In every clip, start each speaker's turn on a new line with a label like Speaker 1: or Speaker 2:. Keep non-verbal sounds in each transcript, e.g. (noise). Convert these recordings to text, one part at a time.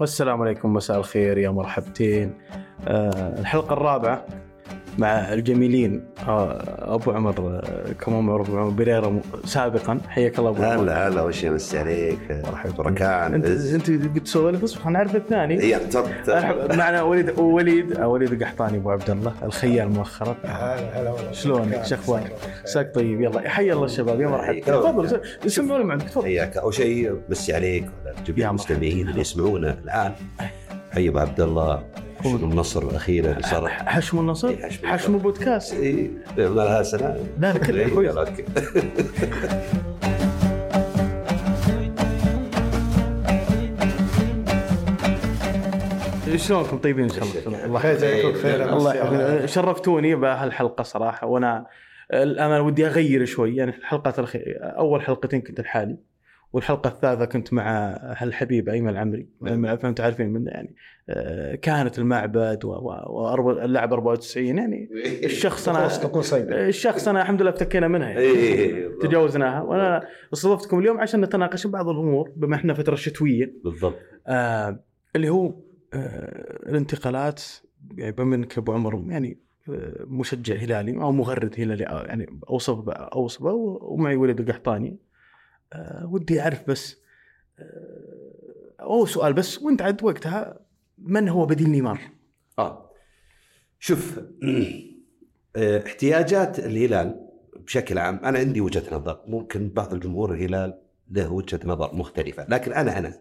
Speaker 1: والسلام عليكم مساء الخير يا مرحبتين آه الحلقة الرابعة مع الجميلين آه أبو عمر آه، كمان معروف أبو عمر بريرة م- سابقا حياك الله أبو عمر
Speaker 2: هلا هلا وش يمسي عليك مرحبا بركان
Speaker 1: أنت
Speaker 2: عز
Speaker 1: أنت قلت سوالف اصبر خلينا نعرف الثاني
Speaker 2: اي انت
Speaker 1: أرحب- معنا وليد وليد آه، وليد القحطاني أبو عبد الله الخيال مؤخرا
Speaker 3: هلا هلا والله
Speaker 1: شلونك شو اخبارك؟ عساك طيب يلا حيا الله الشباب
Speaker 2: إيه،
Speaker 1: يا مرحبتين
Speaker 2: حياك الله.
Speaker 1: تفضل سمعوا لهم عندك تفضل
Speaker 2: حياك اول شيء مسي عليك وعلى
Speaker 1: يا
Speaker 2: جميع المستمعين اللي يسمعونا الان حي ابو عبد الله شنو النصر الاخيره اللي صار
Speaker 1: حشم النصر
Speaker 2: إيه، حشم النصر.
Speaker 1: حشم بودكاست
Speaker 2: إي، ما لها سنه
Speaker 1: لا لا كله
Speaker 2: إي،
Speaker 1: كويس
Speaker 2: يلا، أوكي.
Speaker 1: شلونكم طيبين ان شاء الله الله
Speaker 3: خير زيكم خير
Speaker 1: الله يحفظك. شرفتوني بهالحلقه صراحه وانا الامانه ودي اغير شوي يعني الحلقه الخي... اول حلقتين كنت لحالي والحلقه الثالثه كنت مع هالحبيب ايمن العمري من فهمت عارفين منه يعني آه، كانت المعبد و... و... وأربع- اللاعب 94 يعني الشخص انا
Speaker 3: خلاص تكون صيدة
Speaker 1: الشخص انا الحمد لله افتكينا منها يعني.
Speaker 2: إي، بالضبط.
Speaker 1: تجاوزناها وانا استضفتكم اليوم عشان نتناقش بعض الامور بما احنا فتره شتويه
Speaker 2: بالضبط
Speaker 1: آه اللي هو آه الانتقالات يعني بما انك ابو عمر يعني آه، مشجع هلالي او مغرد هلالي آه، يعني اوصف اوصفه ومعي ولد القحطاني آه ودي اعرف بس آه او سؤال بس وانت عد وقتها من هو بديل نيمار؟
Speaker 2: اه شوف (clears throat) آه، احتياجات الهلال بشكل عام انا عندي وجهه نظر ممكن بعض الجمهور الهلال له وجهه نظر مختلفه لكن انا انا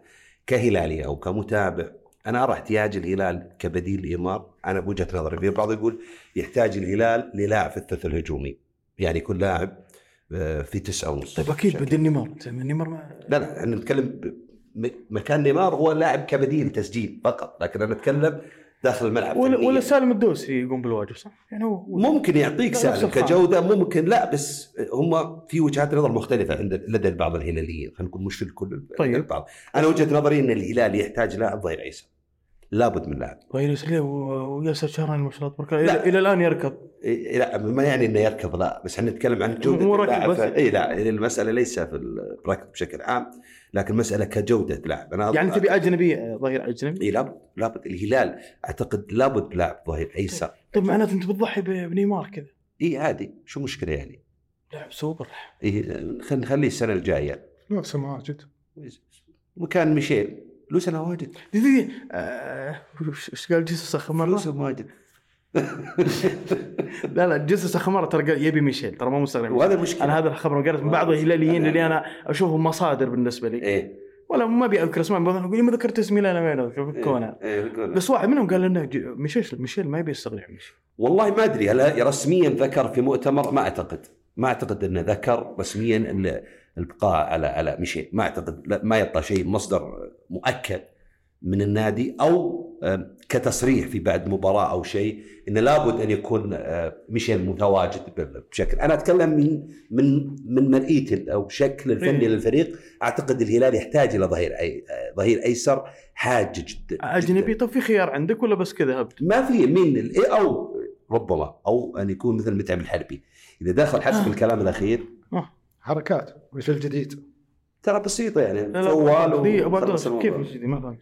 Speaker 2: كهلالي او كمتابع انا ارى احتياج الهلال كبديل لامار انا بوجهه نظري في بعض يقول يحتاج الهلال للاعب في الثلث الهجومي يعني يكون لاعب آه، في تسعة ونص
Speaker 1: طيب اكيد
Speaker 2: بشكل-
Speaker 1: بديل نيمار زي ما نيمار ما
Speaker 2: لا لا احنا نتكلم ب- م- مكان نيمار هو لاعب كبديل تسجيل فقط لكن انا اتكلم داخل الملعب
Speaker 1: ولا,
Speaker 2: فنياً.
Speaker 1: ولا سالم الدوسري يقوم بالواجب صح؟ يعني هو
Speaker 2: ممكن يعطيك
Speaker 1: لا، نفس
Speaker 2: سالم
Speaker 1: الخامة.
Speaker 2: كجوده ممكن لا بس هم في وجهات نظر مختلفه عند لدى البعض الهلاليين خلينا نقول مش في الكل
Speaker 1: طيب.
Speaker 2: لدى البعض انا وجهه نظري ان الهلال يحتاج لاعب ظهير ايسر لابد من لاعب
Speaker 1: ويلي سليه و- وياسر شهراني ما شاء الله تبارك الله
Speaker 2: لا.
Speaker 1: إلى- الى الان يركض
Speaker 2: إيه، لا ما يعني انه يركض لا بس احنا نتكلم عن
Speaker 1: مو
Speaker 2: جوده
Speaker 1: ركض
Speaker 2: اللاعب
Speaker 1: بس.
Speaker 2: اي لا يعني المساله ليس في الركض بشكل عام لكن المساله كجوده لاعب انا
Speaker 1: يعني تبي اجنبي آه، ظهير اجنبي؟
Speaker 2: إيه، لابد لابد الهلال اعتقد لابد لاعب ظهير ايسر
Speaker 1: طيب معناته انت بتضحي ب- بنيمار كذا
Speaker 2: اي عادي إيه، شو مشكله يعني
Speaker 1: لاعب سوبر
Speaker 2: إيه خلينا نخليه السنه الجايه
Speaker 3: نفس ماجد
Speaker 2: مكان ميشيل فلوسنا واجد
Speaker 1: دي دي دي. آه، وش- وش قال جيسوس اخمر
Speaker 2: فلوسهم واجد
Speaker 1: لا لا جيسوس اخمر ترى قال يبي ميشيل ترى ما مستغرب
Speaker 2: (laughs) وهذا مشكله
Speaker 1: انا هذا الخبر قريت من بعض الهلاليين اللي انا اشوفهم مصادر بالنسبه لي
Speaker 2: ايه
Speaker 1: ولا ما ابي اذكر اسماء بعضهم يقول لي ما ذكرت اسمي لا لا ما يذكر،
Speaker 2: إيه،
Speaker 1: فكونا
Speaker 2: إيه، فكونا.
Speaker 1: بس واحد منهم قال انه ج- ميشيل ميشيل ما يبي يستغني عن ميشيل
Speaker 2: والله ما ادري هل رسميا ذكر في مؤتمر ما اعتقد ما اعتقد انه ذكر رسميا ال- البقاء على على ميشيل ما اعتقد لا، ما يطلع شيء مصدر مؤكد من النادي او آم، كتصريح في بعد مباراه او شيء انه لابد ان يكون آه، ميشيل متواجد ب- بشكل انا اتكلم من من من مرئيه او شكل الفني
Speaker 1: إيه.
Speaker 2: للفريق اعتقد الهلال يحتاج الى ظهير أي آه، ظهير ايسر حاجه جدا
Speaker 1: اجنبي طب طيب، في خيار عندك ولا بس كذا هبد
Speaker 2: ما في من الاي او ربما او ان يكون مثل متعب الحربي اذا دخل حسب
Speaker 1: آه.
Speaker 2: الكلام الاخير
Speaker 3: حركات وش الجديد؟
Speaker 2: ترى بسيطه يعني
Speaker 1: لا، طيب،
Speaker 2: طوال
Speaker 1: دي ابو عبد الله كيف مش دي؟ ما فهمت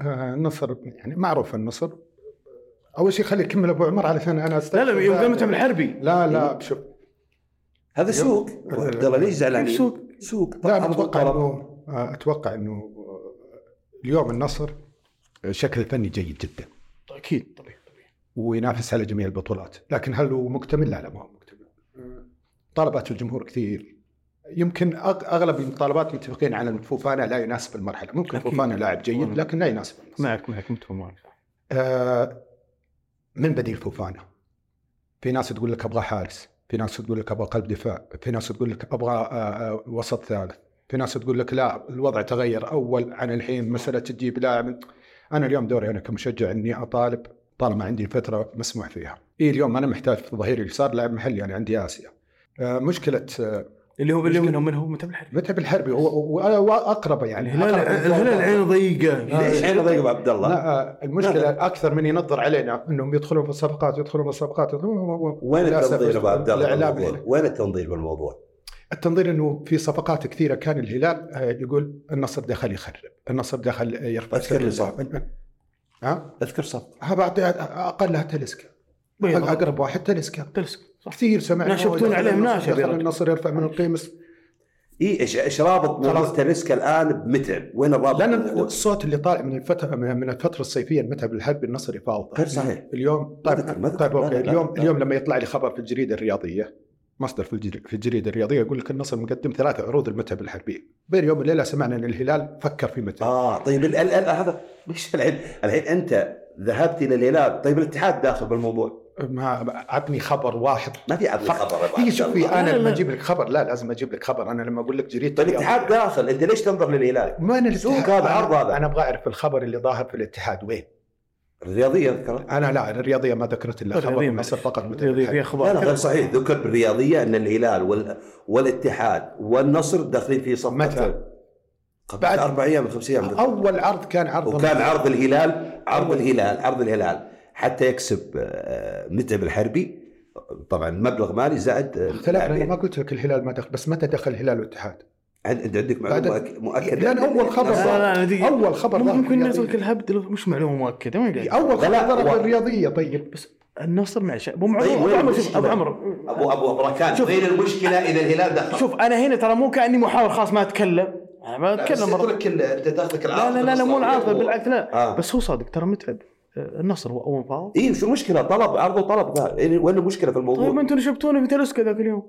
Speaker 3: آه، النصر يعني معروف النصر اول شيء خلي يكمل ابو عمر علشان انا
Speaker 1: لا
Speaker 3: استكشف
Speaker 1: لا يوم قامت من الحربي
Speaker 3: لا لا شوف
Speaker 2: هذا سوق
Speaker 3: آه.
Speaker 2: عبد الله ليش زعلان؟
Speaker 1: كيف سوق؟
Speaker 2: سوق
Speaker 3: لا
Speaker 2: طلب
Speaker 3: أنا اتوقع
Speaker 2: وطلب.
Speaker 3: انه آه، اتوقع انه آه، اليوم النصر شكل فني جيد جدا
Speaker 1: اكيد طبيعي طبيعي
Speaker 3: وينافس على جميع البطولات لكن هل هو مكتمل؟ لا لا ما هو مكتمل طلبات الجمهور كثير يمكن أغ- اغلب المطالبات متفقين على ان فوفانا لا يناسب المرحله ممكن
Speaker 1: أكيد.
Speaker 3: فوفانا لاعب جيد لكن لا يناسب النصر.
Speaker 1: معك معك متفق معك
Speaker 3: آه، من بديل فوفانا في ناس تقول لك ابغى حارس في ناس تقول لك ابغى قلب دفاع في ناس تقول لك ابغى آه، آه، وسط ثالث في ناس تقول لك لا الوضع تغير اول عن الحين مساله تجيب لاعب انا اليوم دوري انا كمشجع اني اطالب طالما عندي فتره مسموح فيها اي اليوم انا محتاج في ظهير اليسار لاعب محلي انا عندي اسيا آه، مشكله آه،
Speaker 1: اللي هو اللي
Speaker 3: مشكلة.
Speaker 1: منهم منهم متعب الحربي
Speaker 3: متعب الحربي و- و- واقربه يعني
Speaker 1: الهلال
Speaker 3: أقرب من
Speaker 1: الهلال يعني
Speaker 3: الظهر.
Speaker 2: آه،
Speaker 1: عينه ضيقه
Speaker 2: ليش عينه ضيق أبو عبد الله؟
Speaker 3: لا آه، المشكله اكثر من ينظر علينا انهم يدخلون في الصفقات يدخلون في الصفقات يدخلون
Speaker 2: وين
Speaker 3: للأسف
Speaker 2: التنظير ابو عبد الله؟
Speaker 3: الاعلام
Speaker 1: يعني.
Speaker 2: بالموضوع؟
Speaker 3: هنا.
Speaker 2: وين التنظير بالموضوع؟
Speaker 3: التنظير انه في صفقات كثيره كان الهلال آه، يقول النصر دخل يخرب، النصر دخل يرفع
Speaker 2: أذكر
Speaker 3: سعر
Speaker 2: لي
Speaker 3: اللاعب. ها؟
Speaker 2: اذكر صفقه
Speaker 3: هذا أعطي- اقلها تلسكا
Speaker 1: بيضاء
Speaker 3: اقرب واحد تلسكا
Speaker 1: تلسك صح
Speaker 3: كثير سمعنا
Speaker 1: ناشفتون
Speaker 3: والله
Speaker 1: عليه
Speaker 3: النصر
Speaker 1: مناشر يا
Speaker 3: دخل
Speaker 1: رجل.
Speaker 3: النصر يرفع من القيمه
Speaker 2: اي إش- ايش رابط
Speaker 3: خلاص.
Speaker 2: خلاص تلسكا الان بمتعب وين الرابط؟
Speaker 3: لان الصوت اللي طالع من الفتره من الفتره الصيفيه المتعب الحربي النصر يفاوض
Speaker 2: غير صحيح
Speaker 3: اليوم
Speaker 2: أذكر،
Speaker 3: طيب
Speaker 2: ما أذكر.
Speaker 3: طيب
Speaker 2: لا،
Speaker 3: اوكي
Speaker 2: لا، لا،
Speaker 3: اليوم
Speaker 2: لا.
Speaker 3: اليوم لما يطلع لي خبر في الجريده الرياضيه مصدر في الجريده في الجريده الرياضيه يقول لك النصر مقدم ثلاث عروض المتعب الحربي بين يوم وليله سمعنا ان الهلال فكر في متعب
Speaker 2: اه طيب ال- ال- ال- هذا مش الحين الحين انت ذهبت الى الهلال طيب الاتحاد داخل بالموضوع
Speaker 3: ما عطني خبر واحد
Speaker 2: ما في عدل
Speaker 3: خ-
Speaker 2: خبر أبو
Speaker 3: هي
Speaker 2: عبد
Speaker 3: إيه، شوفي آه،
Speaker 2: الله.
Speaker 1: لا،
Speaker 3: انا
Speaker 1: لا.
Speaker 3: لما اجيب لك خبر لا لازم اجيب لك خبر انا لما اقول لك جريده
Speaker 2: طيب الاتحاد داخل انت ليش تنظر للهلال؟
Speaker 3: وين
Speaker 2: سوق
Speaker 3: الاتحاد؟
Speaker 2: هذا، عرض هذا.
Speaker 3: انا ابغى اعرف الخبر اللي ظاهر في الاتحاد وين؟
Speaker 2: الرياضيه اذكر
Speaker 3: انا لا الرياضيه ما ذكرت
Speaker 2: طيب،
Speaker 3: الا خبر
Speaker 1: الرياضية
Speaker 3: النصر فقط متعب
Speaker 1: الرياضية
Speaker 3: الحربي.
Speaker 1: فيها
Speaker 2: لا لا
Speaker 1: اخبار
Speaker 2: غير صحيح ذكر بالرياضيه ان الهلال وال... والاتحاد والنصر داخلين في صفقه
Speaker 3: متى؟
Speaker 2: قبل
Speaker 3: بعد-
Speaker 2: اربع ايام خمس ايام
Speaker 3: اول عرض كان عرض
Speaker 2: وكان عرض الهلال عرض الهلال عرض الهلال حتى يكسب آه، متعب الحربي طبعا مبلغ مالي زائد آه،
Speaker 3: اختلفنا انا
Speaker 2: لاعبين.
Speaker 3: ما قلت لك الهلال ما دخل بس متى دخل الهلال والاتحاد؟
Speaker 2: عند- انت عندك معلومه
Speaker 3: بعد-
Speaker 2: أك- مؤكده
Speaker 3: لان اول خبر
Speaker 1: لا
Speaker 3: ظهر-
Speaker 1: لا لا دقيقة.
Speaker 3: اول خبر ظهر في
Speaker 1: ممكن
Speaker 2: يعني.
Speaker 3: الرياضية.
Speaker 1: نزلك الهبد لو- مش معلومه مؤكده ما يقدر.
Speaker 3: اول
Speaker 2: لا، لا،
Speaker 3: خبر ظهر
Speaker 2: هو-
Speaker 3: في الرياضيه طيب
Speaker 1: بس النصر معلش ابو
Speaker 2: طيب،
Speaker 1: معلوم
Speaker 2: وين
Speaker 1: ابو عمر شوف
Speaker 2: المشكلة؟
Speaker 1: ابو عمرو
Speaker 2: ابو ابو ابو ركان
Speaker 1: شوف.
Speaker 2: فين المشكله اذا الهلال دخل
Speaker 1: شوف انا هنا ترى مو كاني محاور خاص ما اتكلم انا ما اتكلم
Speaker 2: أه، بس
Speaker 1: مرة.
Speaker 2: يقول لك ال- انت دخلك
Speaker 1: لا
Speaker 2: العاطفه
Speaker 1: لا لا, لا مو
Speaker 2: النصراوية
Speaker 1: العاطفه
Speaker 2: هو-
Speaker 1: بالعكس لا
Speaker 2: آه.
Speaker 1: بس هو صادق ترى متعب آه، النصر هو اول فاض
Speaker 2: اي شو المشكله طلب عرض وطلب ذا يعني وين المشكله في الموضوع
Speaker 1: طيب انتوا نشبتونا في تلسكا ذاك اليوم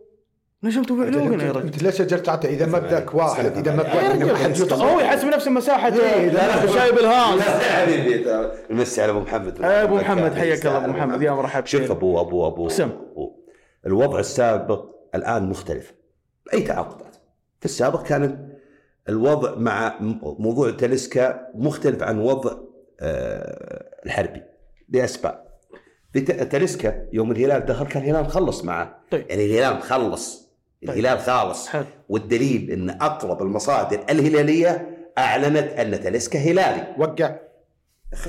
Speaker 1: نشبتوا في
Speaker 3: انت
Speaker 1: علوقنا يا رجل
Speaker 3: أنت ليش اجرت تعطي اذا مبداك واحد اذا
Speaker 1: يا رجل
Speaker 3: مبداك
Speaker 1: حتجوت- هو يحسب نفس مساحه
Speaker 3: إيه، لا، لا.
Speaker 1: شايب الهان
Speaker 2: لا (laughs) يا حبيبي نمسي على ابو محمد
Speaker 1: ابو محمد حياك الله ابو
Speaker 2: يستاهل
Speaker 1: محمد يا مرحبا
Speaker 2: شوف ابو ابو ابو
Speaker 1: سم.
Speaker 2: أبو- الوضع السابق الان مختلف اي تعاقدات في السابق كان الوضع مع م- موضوع تلسكا مختلف عن وضع آه، الحربي لاسباب في ت- تلسكا يوم الهلال دخل كان الهلال مخلص معه
Speaker 1: طيب.
Speaker 2: يعني الهلال مخلص
Speaker 1: طيب.
Speaker 2: الهلال خالص
Speaker 1: حلو
Speaker 2: والدليل ان اقرب المصادر الهلاليه اعلنت ان تلسكا هلالي
Speaker 3: وقع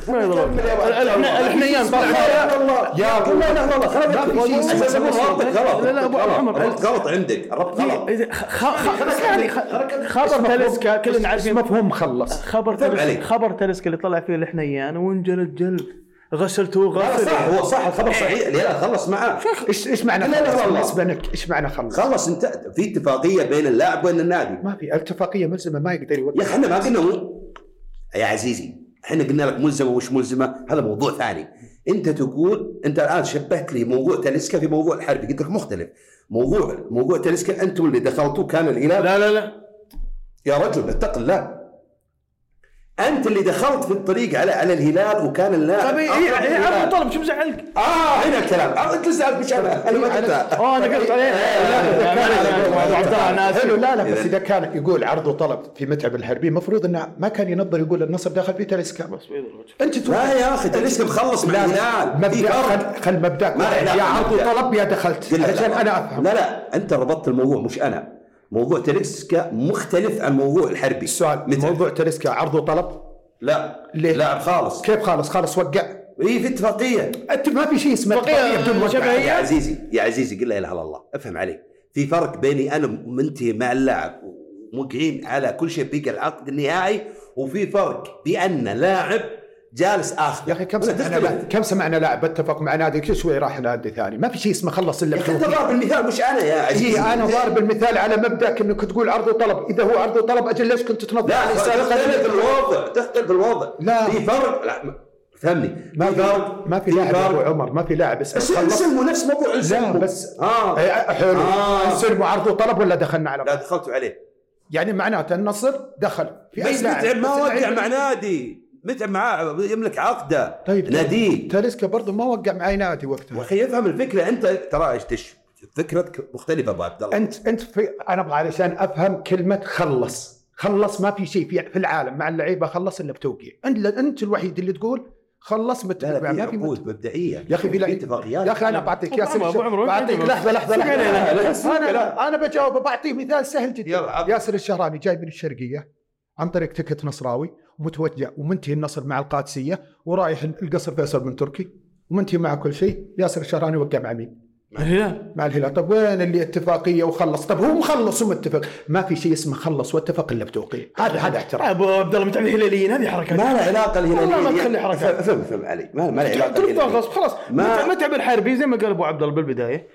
Speaker 1: ما يضرب الحنيان
Speaker 2: يا ابو لا لا والله خلاص
Speaker 1: ما في شيء اسمه
Speaker 2: أساساً
Speaker 1: تلسكا.
Speaker 2: ربطك غلط
Speaker 1: لا، لا، أبو
Speaker 2: غلط.
Speaker 1: محمد،
Speaker 2: ربط غلط عندك ربط غلط
Speaker 1: خبر تلسكا كلنا عارفين
Speaker 3: مفهوم مخلص
Speaker 1: خبر
Speaker 2: فهم
Speaker 1: تلسكا
Speaker 2: عليك.
Speaker 1: خبر تلسكا اللي طلع فيه الحنيان وانجلد جلب غسلته
Speaker 2: لا، صح
Speaker 1: غسل
Speaker 2: هو صح الخبر صحيح الهلال خلص معاه
Speaker 3: ايش ايش معنى
Speaker 2: لا، لا،
Speaker 3: خلص
Speaker 2: والله.
Speaker 3: بالنسبه لك ايش معنى خلص؟
Speaker 2: خلص انت في اتفاقيه بين اللاعب وبين النادي
Speaker 3: ما في اتفاقيه ملزمه ما يقدر
Speaker 2: يا
Speaker 3: يوقع
Speaker 2: اخي احنا ما قلنا مو- يا عزيزي احنا قلنا لك ملزمه وش ملزمه هذا موضوع ثاني انت تقول انت الان شبهت لي موضوع تلسكا في موضوع الحربي قلت لك مختلف موضوع موضوع تلسكا انتم اللي دخلتوه كان الهلال
Speaker 1: لا لا لا
Speaker 2: يا رجل اتق الله انت اللي دخلت في الطريق على على الهلال وكان اللاعب
Speaker 1: طيب
Speaker 3: إيه-
Speaker 2: أقرب
Speaker 1: اي
Speaker 2: للهلال.
Speaker 1: عبد طلب شو مزعلك؟
Speaker 2: اه هنا الكلام آه، انت زعلت مش انا انا ما قلتها.
Speaker 1: اه انا قلت عليه عبد الله انا
Speaker 3: حلو
Speaker 1: اسف
Speaker 3: لا لا بس اذا كان يقول عرض وطلب في متعب الحربي المفروض انه ما كان ينظر يقول النصر داخل في تلسكا
Speaker 1: بس بيضرب وجهك.
Speaker 3: انت
Speaker 2: لا
Speaker 3: تقول
Speaker 2: يا اخي تلسكا مخلص مع الهلال في
Speaker 3: مبدأ
Speaker 2: فرق.
Speaker 3: خل, خل مبداك
Speaker 2: ما له علاقة
Speaker 3: يا عرض
Speaker 2: بالمبدأ.
Speaker 3: وطلب يا دخلت
Speaker 2: قلت
Speaker 3: عشان
Speaker 2: لا.
Speaker 3: انا افهم
Speaker 2: لا لا انت ربطت الموضوع مش انا موضوع تلسكا مختلف عن موضوع الحربي
Speaker 3: السؤال
Speaker 2: متى؟
Speaker 3: موضوع تلسكا عرض وطلب
Speaker 2: لا
Speaker 3: ليه؟
Speaker 2: لاعب خالص
Speaker 3: كيف خالص خالص وقع
Speaker 2: اي في اتفاقيه
Speaker 3: انت ما في شيء اسمه
Speaker 1: فقيه
Speaker 3: اتفاقيه بدون
Speaker 1: شبهية.
Speaker 3: وقع
Speaker 2: طيب، يا عزيزي يا عزيزي قل لا اله الا الله افهم علي في فرق بيني انا منتهي مع اللاعب وموقعين على كل شيء بيقى العقد النهائي وفي فرق بان لاعب جالس اخر
Speaker 3: يا اخي كم سمعنا لا- كم سمعنا لاعب اتفق مع نادي كل شوي راح نادي ثاني ما في شيء اسمه خلص الا
Speaker 2: يا اخي
Speaker 3: بدون
Speaker 2: انت
Speaker 3: وقع.
Speaker 2: ضارب المثال مش انا يا عزيزي
Speaker 3: إيه، انا ضارب المثال على مبداك انك تقول عرض وطلب اذا هو عرض وطلب اجل ليش كنت تنظر
Speaker 2: لا
Speaker 3: عليه
Speaker 2: تختلف
Speaker 3: سابقا
Speaker 2: الوضع تختلف الوضع
Speaker 3: لا.
Speaker 2: في فرق لا ما- فهمني
Speaker 3: ما
Speaker 2: في
Speaker 3: في
Speaker 2: فرق
Speaker 3: ما في
Speaker 2: في
Speaker 3: لاعب ابو
Speaker 2: فرق
Speaker 3: عمر ما في لاعب اسمه
Speaker 2: اسم-
Speaker 3: خلص
Speaker 2: اسمه نفس موضوع
Speaker 3: لا
Speaker 2: الزلمه
Speaker 3: بس
Speaker 2: اه
Speaker 3: إيه، حلو
Speaker 2: آه.
Speaker 3: نصير معرض وطلب ولا دخلنا
Speaker 2: لا
Speaker 3: على بعض؟
Speaker 2: دخلتوا عليه
Speaker 3: يعني معناته النصر دخل في اي
Speaker 2: بس
Speaker 3: لاعب
Speaker 2: متعب ما
Speaker 3: بس
Speaker 2: وقع
Speaker 3: اللعيب-
Speaker 2: مع نادي متعب معاه يملك عقده
Speaker 3: طيب
Speaker 2: ناديه
Speaker 3: تاليسكا برضه ما وقع مع اي نادي وقتها
Speaker 2: واخي افهم الفكره انت ترى ايش تش فكرتك مختلفه ابو عبد الله
Speaker 3: انت انت في انا ابغى علشان افهم كلمه خلص خلص ما في شيء في, في العالم مع اللعيبه خلص الا بتوقيع انت انت الوحيد اللي تقول خلص مت...
Speaker 2: لا لا في
Speaker 3: ما في مت...
Speaker 2: عقود مبدئيه
Speaker 3: يا اخي في
Speaker 2: في
Speaker 3: لعيب-
Speaker 2: اتفاقيات
Speaker 3: يا اخي انا
Speaker 1: لا.
Speaker 3: بعطيك
Speaker 1: أبو
Speaker 3: ياسر
Speaker 1: عمر- أبو عمر،
Speaker 3: الشهراني بعطيك
Speaker 1: وين
Speaker 3: لحظه لحظه
Speaker 1: سمع لي أنا.
Speaker 3: لحظه
Speaker 2: لا.
Speaker 3: انا انا بجاوب بعطيه مثال سهل
Speaker 2: يلا،
Speaker 3: جدا
Speaker 2: عطني.
Speaker 3: ياسر الشهراني جاي من الشرقيه عن طريق تكت نصراوي ومتوجه ومنتهي النصر مع القادسيه ورايح القصر فيصل بن تركي ومنتهي مع كل شيء ياسر الشهراني وقع مع مين؟
Speaker 1: الهلال
Speaker 3: مع الهلال طب وين اللي اتفاقيه وخلص طب هو مخلص ومتفق ما في شيء اسمه خلص واتفق الا بتوقيع هذا هذا
Speaker 1: يا
Speaker 3: احترام
Speaker 1: ابو عبد الله متعب الهلاليين هذه
Speaker 2: ما
Speaker 1: حركه
Speaker 2: له علاقه الهلاليين
Speaker 1: والله ما تخلي حركات.
Speaker 2: فهم فهم علي ما ما له علاقه
Speaker 1: ترفع
Speaker 2: الهلاليين.
Speaker 1: غصب خلاص ما
Speaker 2: ما-
Speaker 1: متعب الحربي زي ما قال ابو عبد الله بالبدايه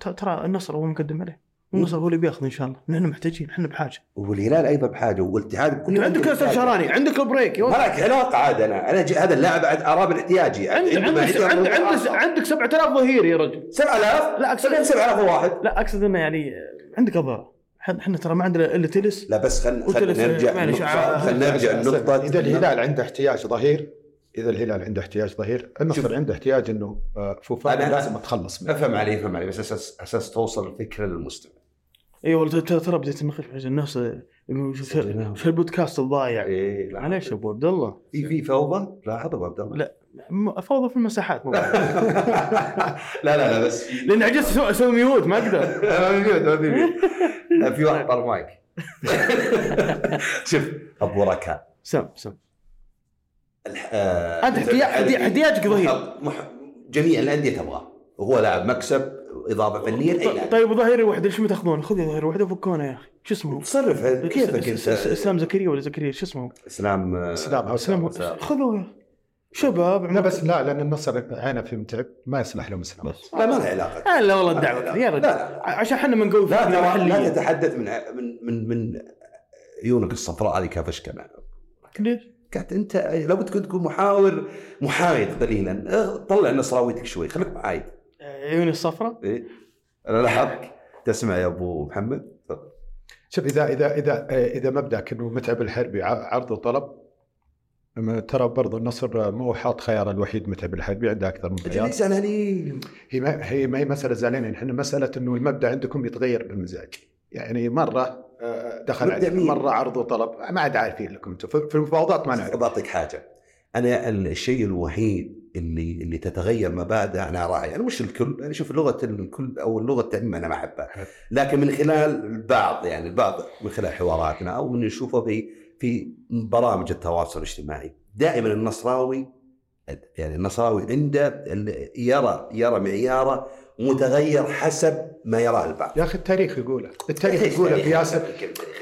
Speaker 1: ت- ترى النصر هو مقدم عليه النصر هو اللي بياخذ ان شاء الله نحن محتاجين نحن بحاجه
Speaker 2: والهلال ايضا بحاجه والاتحاد بكل
Speaker 1: انت عندك
Speaker 2: بحاجة.
Speaker 1: ياسر شهراني عندك بريك يا
Speaker 2: ما
Speaker 1: ولد.
Speaker 2: لك علاقه عاد انا انا جي- هذا اللاعب عاد اراه بالاحتياجي
Speaker 1: عندك عندك عندك عندك, عندك 7000 ظهير يا رجل
Speaker 2: 7000
Speaker 1: لا،
Speaker 2: لا
Speaker 1: أقصد-
Speaker 2: اكثر 7000 واحد
Speaker 1: لا اقصد انه يعني عندك اضرار احنا ترى ما عندنا الا تلس
Speaker 2: لا بس خلينا
Speaker 1: وتلف-
Speaker 2: نرجع
Speaker 1: يعني معلش،
Speaker 2: النقطة- خلينا نرجع النقطة
Speaker 3: اذا الهلال عنده احتياج ظهير اذا الهلال عنده احتياج ظهير
Speaker 2: شوف.
Speaker 3: النصر عنده احتاج انه آه، فوفانا
Speaker 2: أنا-
Speaker 3: لازم اتخلص منه
Speaker 2: افهم علي افهم علي بس اساس اساس توصل الفكرة للمستمع
Speaker 1: ايوه ترى- ترى ترى بديت انخش في حاجة. الناس آه، يقولوا شو
Speaker 2: صدقناهم.
Speaker 1: شو البودكاست الضايع
Speaker 2: اي إيه، لا
Speaker 1: معليش يا ابو عبد الله
Speaker 2: في في فوضى لاحظ ابو عبد الله (laughs)
Speaker 1: لا. م- فوضى في (laughs) المساحات مو-
Speaker 2: لا لا لا بس (laughs)
Speaker 1: لان عجزت أسوي- اسوي ميوت ما اقدر
Speaker 2: ما في ميوت، ما في ميوت. لا في واحد طار مايك (laughs) شوف ابو ركان
Speaker 1: سم سم
Speaker 2: آه،
Speaker 1: أنت احتياج- احتياج- احتياجك ظهير
Speaker 2: مح- جميع الانديه تبغاه وهو لاعب مكسب اضافه فنيه لاي لاعب
Speaker 1: طيب ظهيري واحد ليش ما تاخذونه خذ ظهير واحد وفكونا يا اخي شو اسمه
Speaker 2: تصرف كيفك
Speaker 1: س- س-
Speaker 2: انت
Speaker 1: اسلام زكريا ولا زكريا شو اسمه
Speaker 2: اسلام آه،
Speaker 3: اسلام او
Speaker 1: اسلام
Speaker 2: سلام.
Speaker 1: خذوه يا أخي. شباب
Speaker 3: لا بس لا لان النصر عينه في متعب ما يصلح له مسلم
Speaker 2: بس لا ما له علاقه
Speaker 1: آه، لا والله الدعوه يا
Speaker 2: لا
Speaker 1: رجل
Speaker 2: لا
Speaker 1: عشان احنا ما نقوي
Speaker 2: لا
Speaker 1: فكرة
Speaker 2: ترى لا
Speaker 1: محلية.
Speaker 2: تتحدث من من من من عيونك الصفراء هذه كافشكنا
Speaker 1: ليش؟
Speaker 2: قالت انت لابد كنت تكون محاور محايد قليلا اه، طلع نصراويتك شوي خليك محايد
Speaker 1: عيوني الصفراء
Speaker 2: ايه انا لاحظك تسمع يا ابو محمد تفضل.
Speaker 3: شوف اذا اذا اذا اذا مبداك انه متعب الحربي ع- عرض وطلب أما ترى برضه النصر مو حاط خيار الوحيد متعب الحربي عنده اكثر من
Speaker 2: انت
Speaker 3: خيار
Speaker 2: ليش زعلانين؟
Speaker 3: هي ما هي ما هي مساله زعلانين احنا مساله انه المبدا عندكم يتغير بالمزاج يعني مره آه، دخل
Speaker 2: مبدأ
Speaker 3: عليه
Speaker 2: مين؟
Speaker 3: مره عرض وطلب ما عاد عارفين لكم انتم في في المفاوضات ما نعرف
Speaker 2: بعطيك حاجه انا الشيء الوحيد اللي اللي تتغير مبادئ انا راعي انا مش الكل انا شوف لغه الكل او اللغه التعليم انا ما احبها لكن من خلال البعض يعني البعض من خلال حواراتنا او من نشوفه في في برامج التواصل الاجتماعي دائما النصراوي يعني النصراوي عنده ال- يرى يرى معياره متغير حسب ما يراه البعض
Speaker 3: يا اخي التاريخ يقوله التاريخ يقوله في ياسر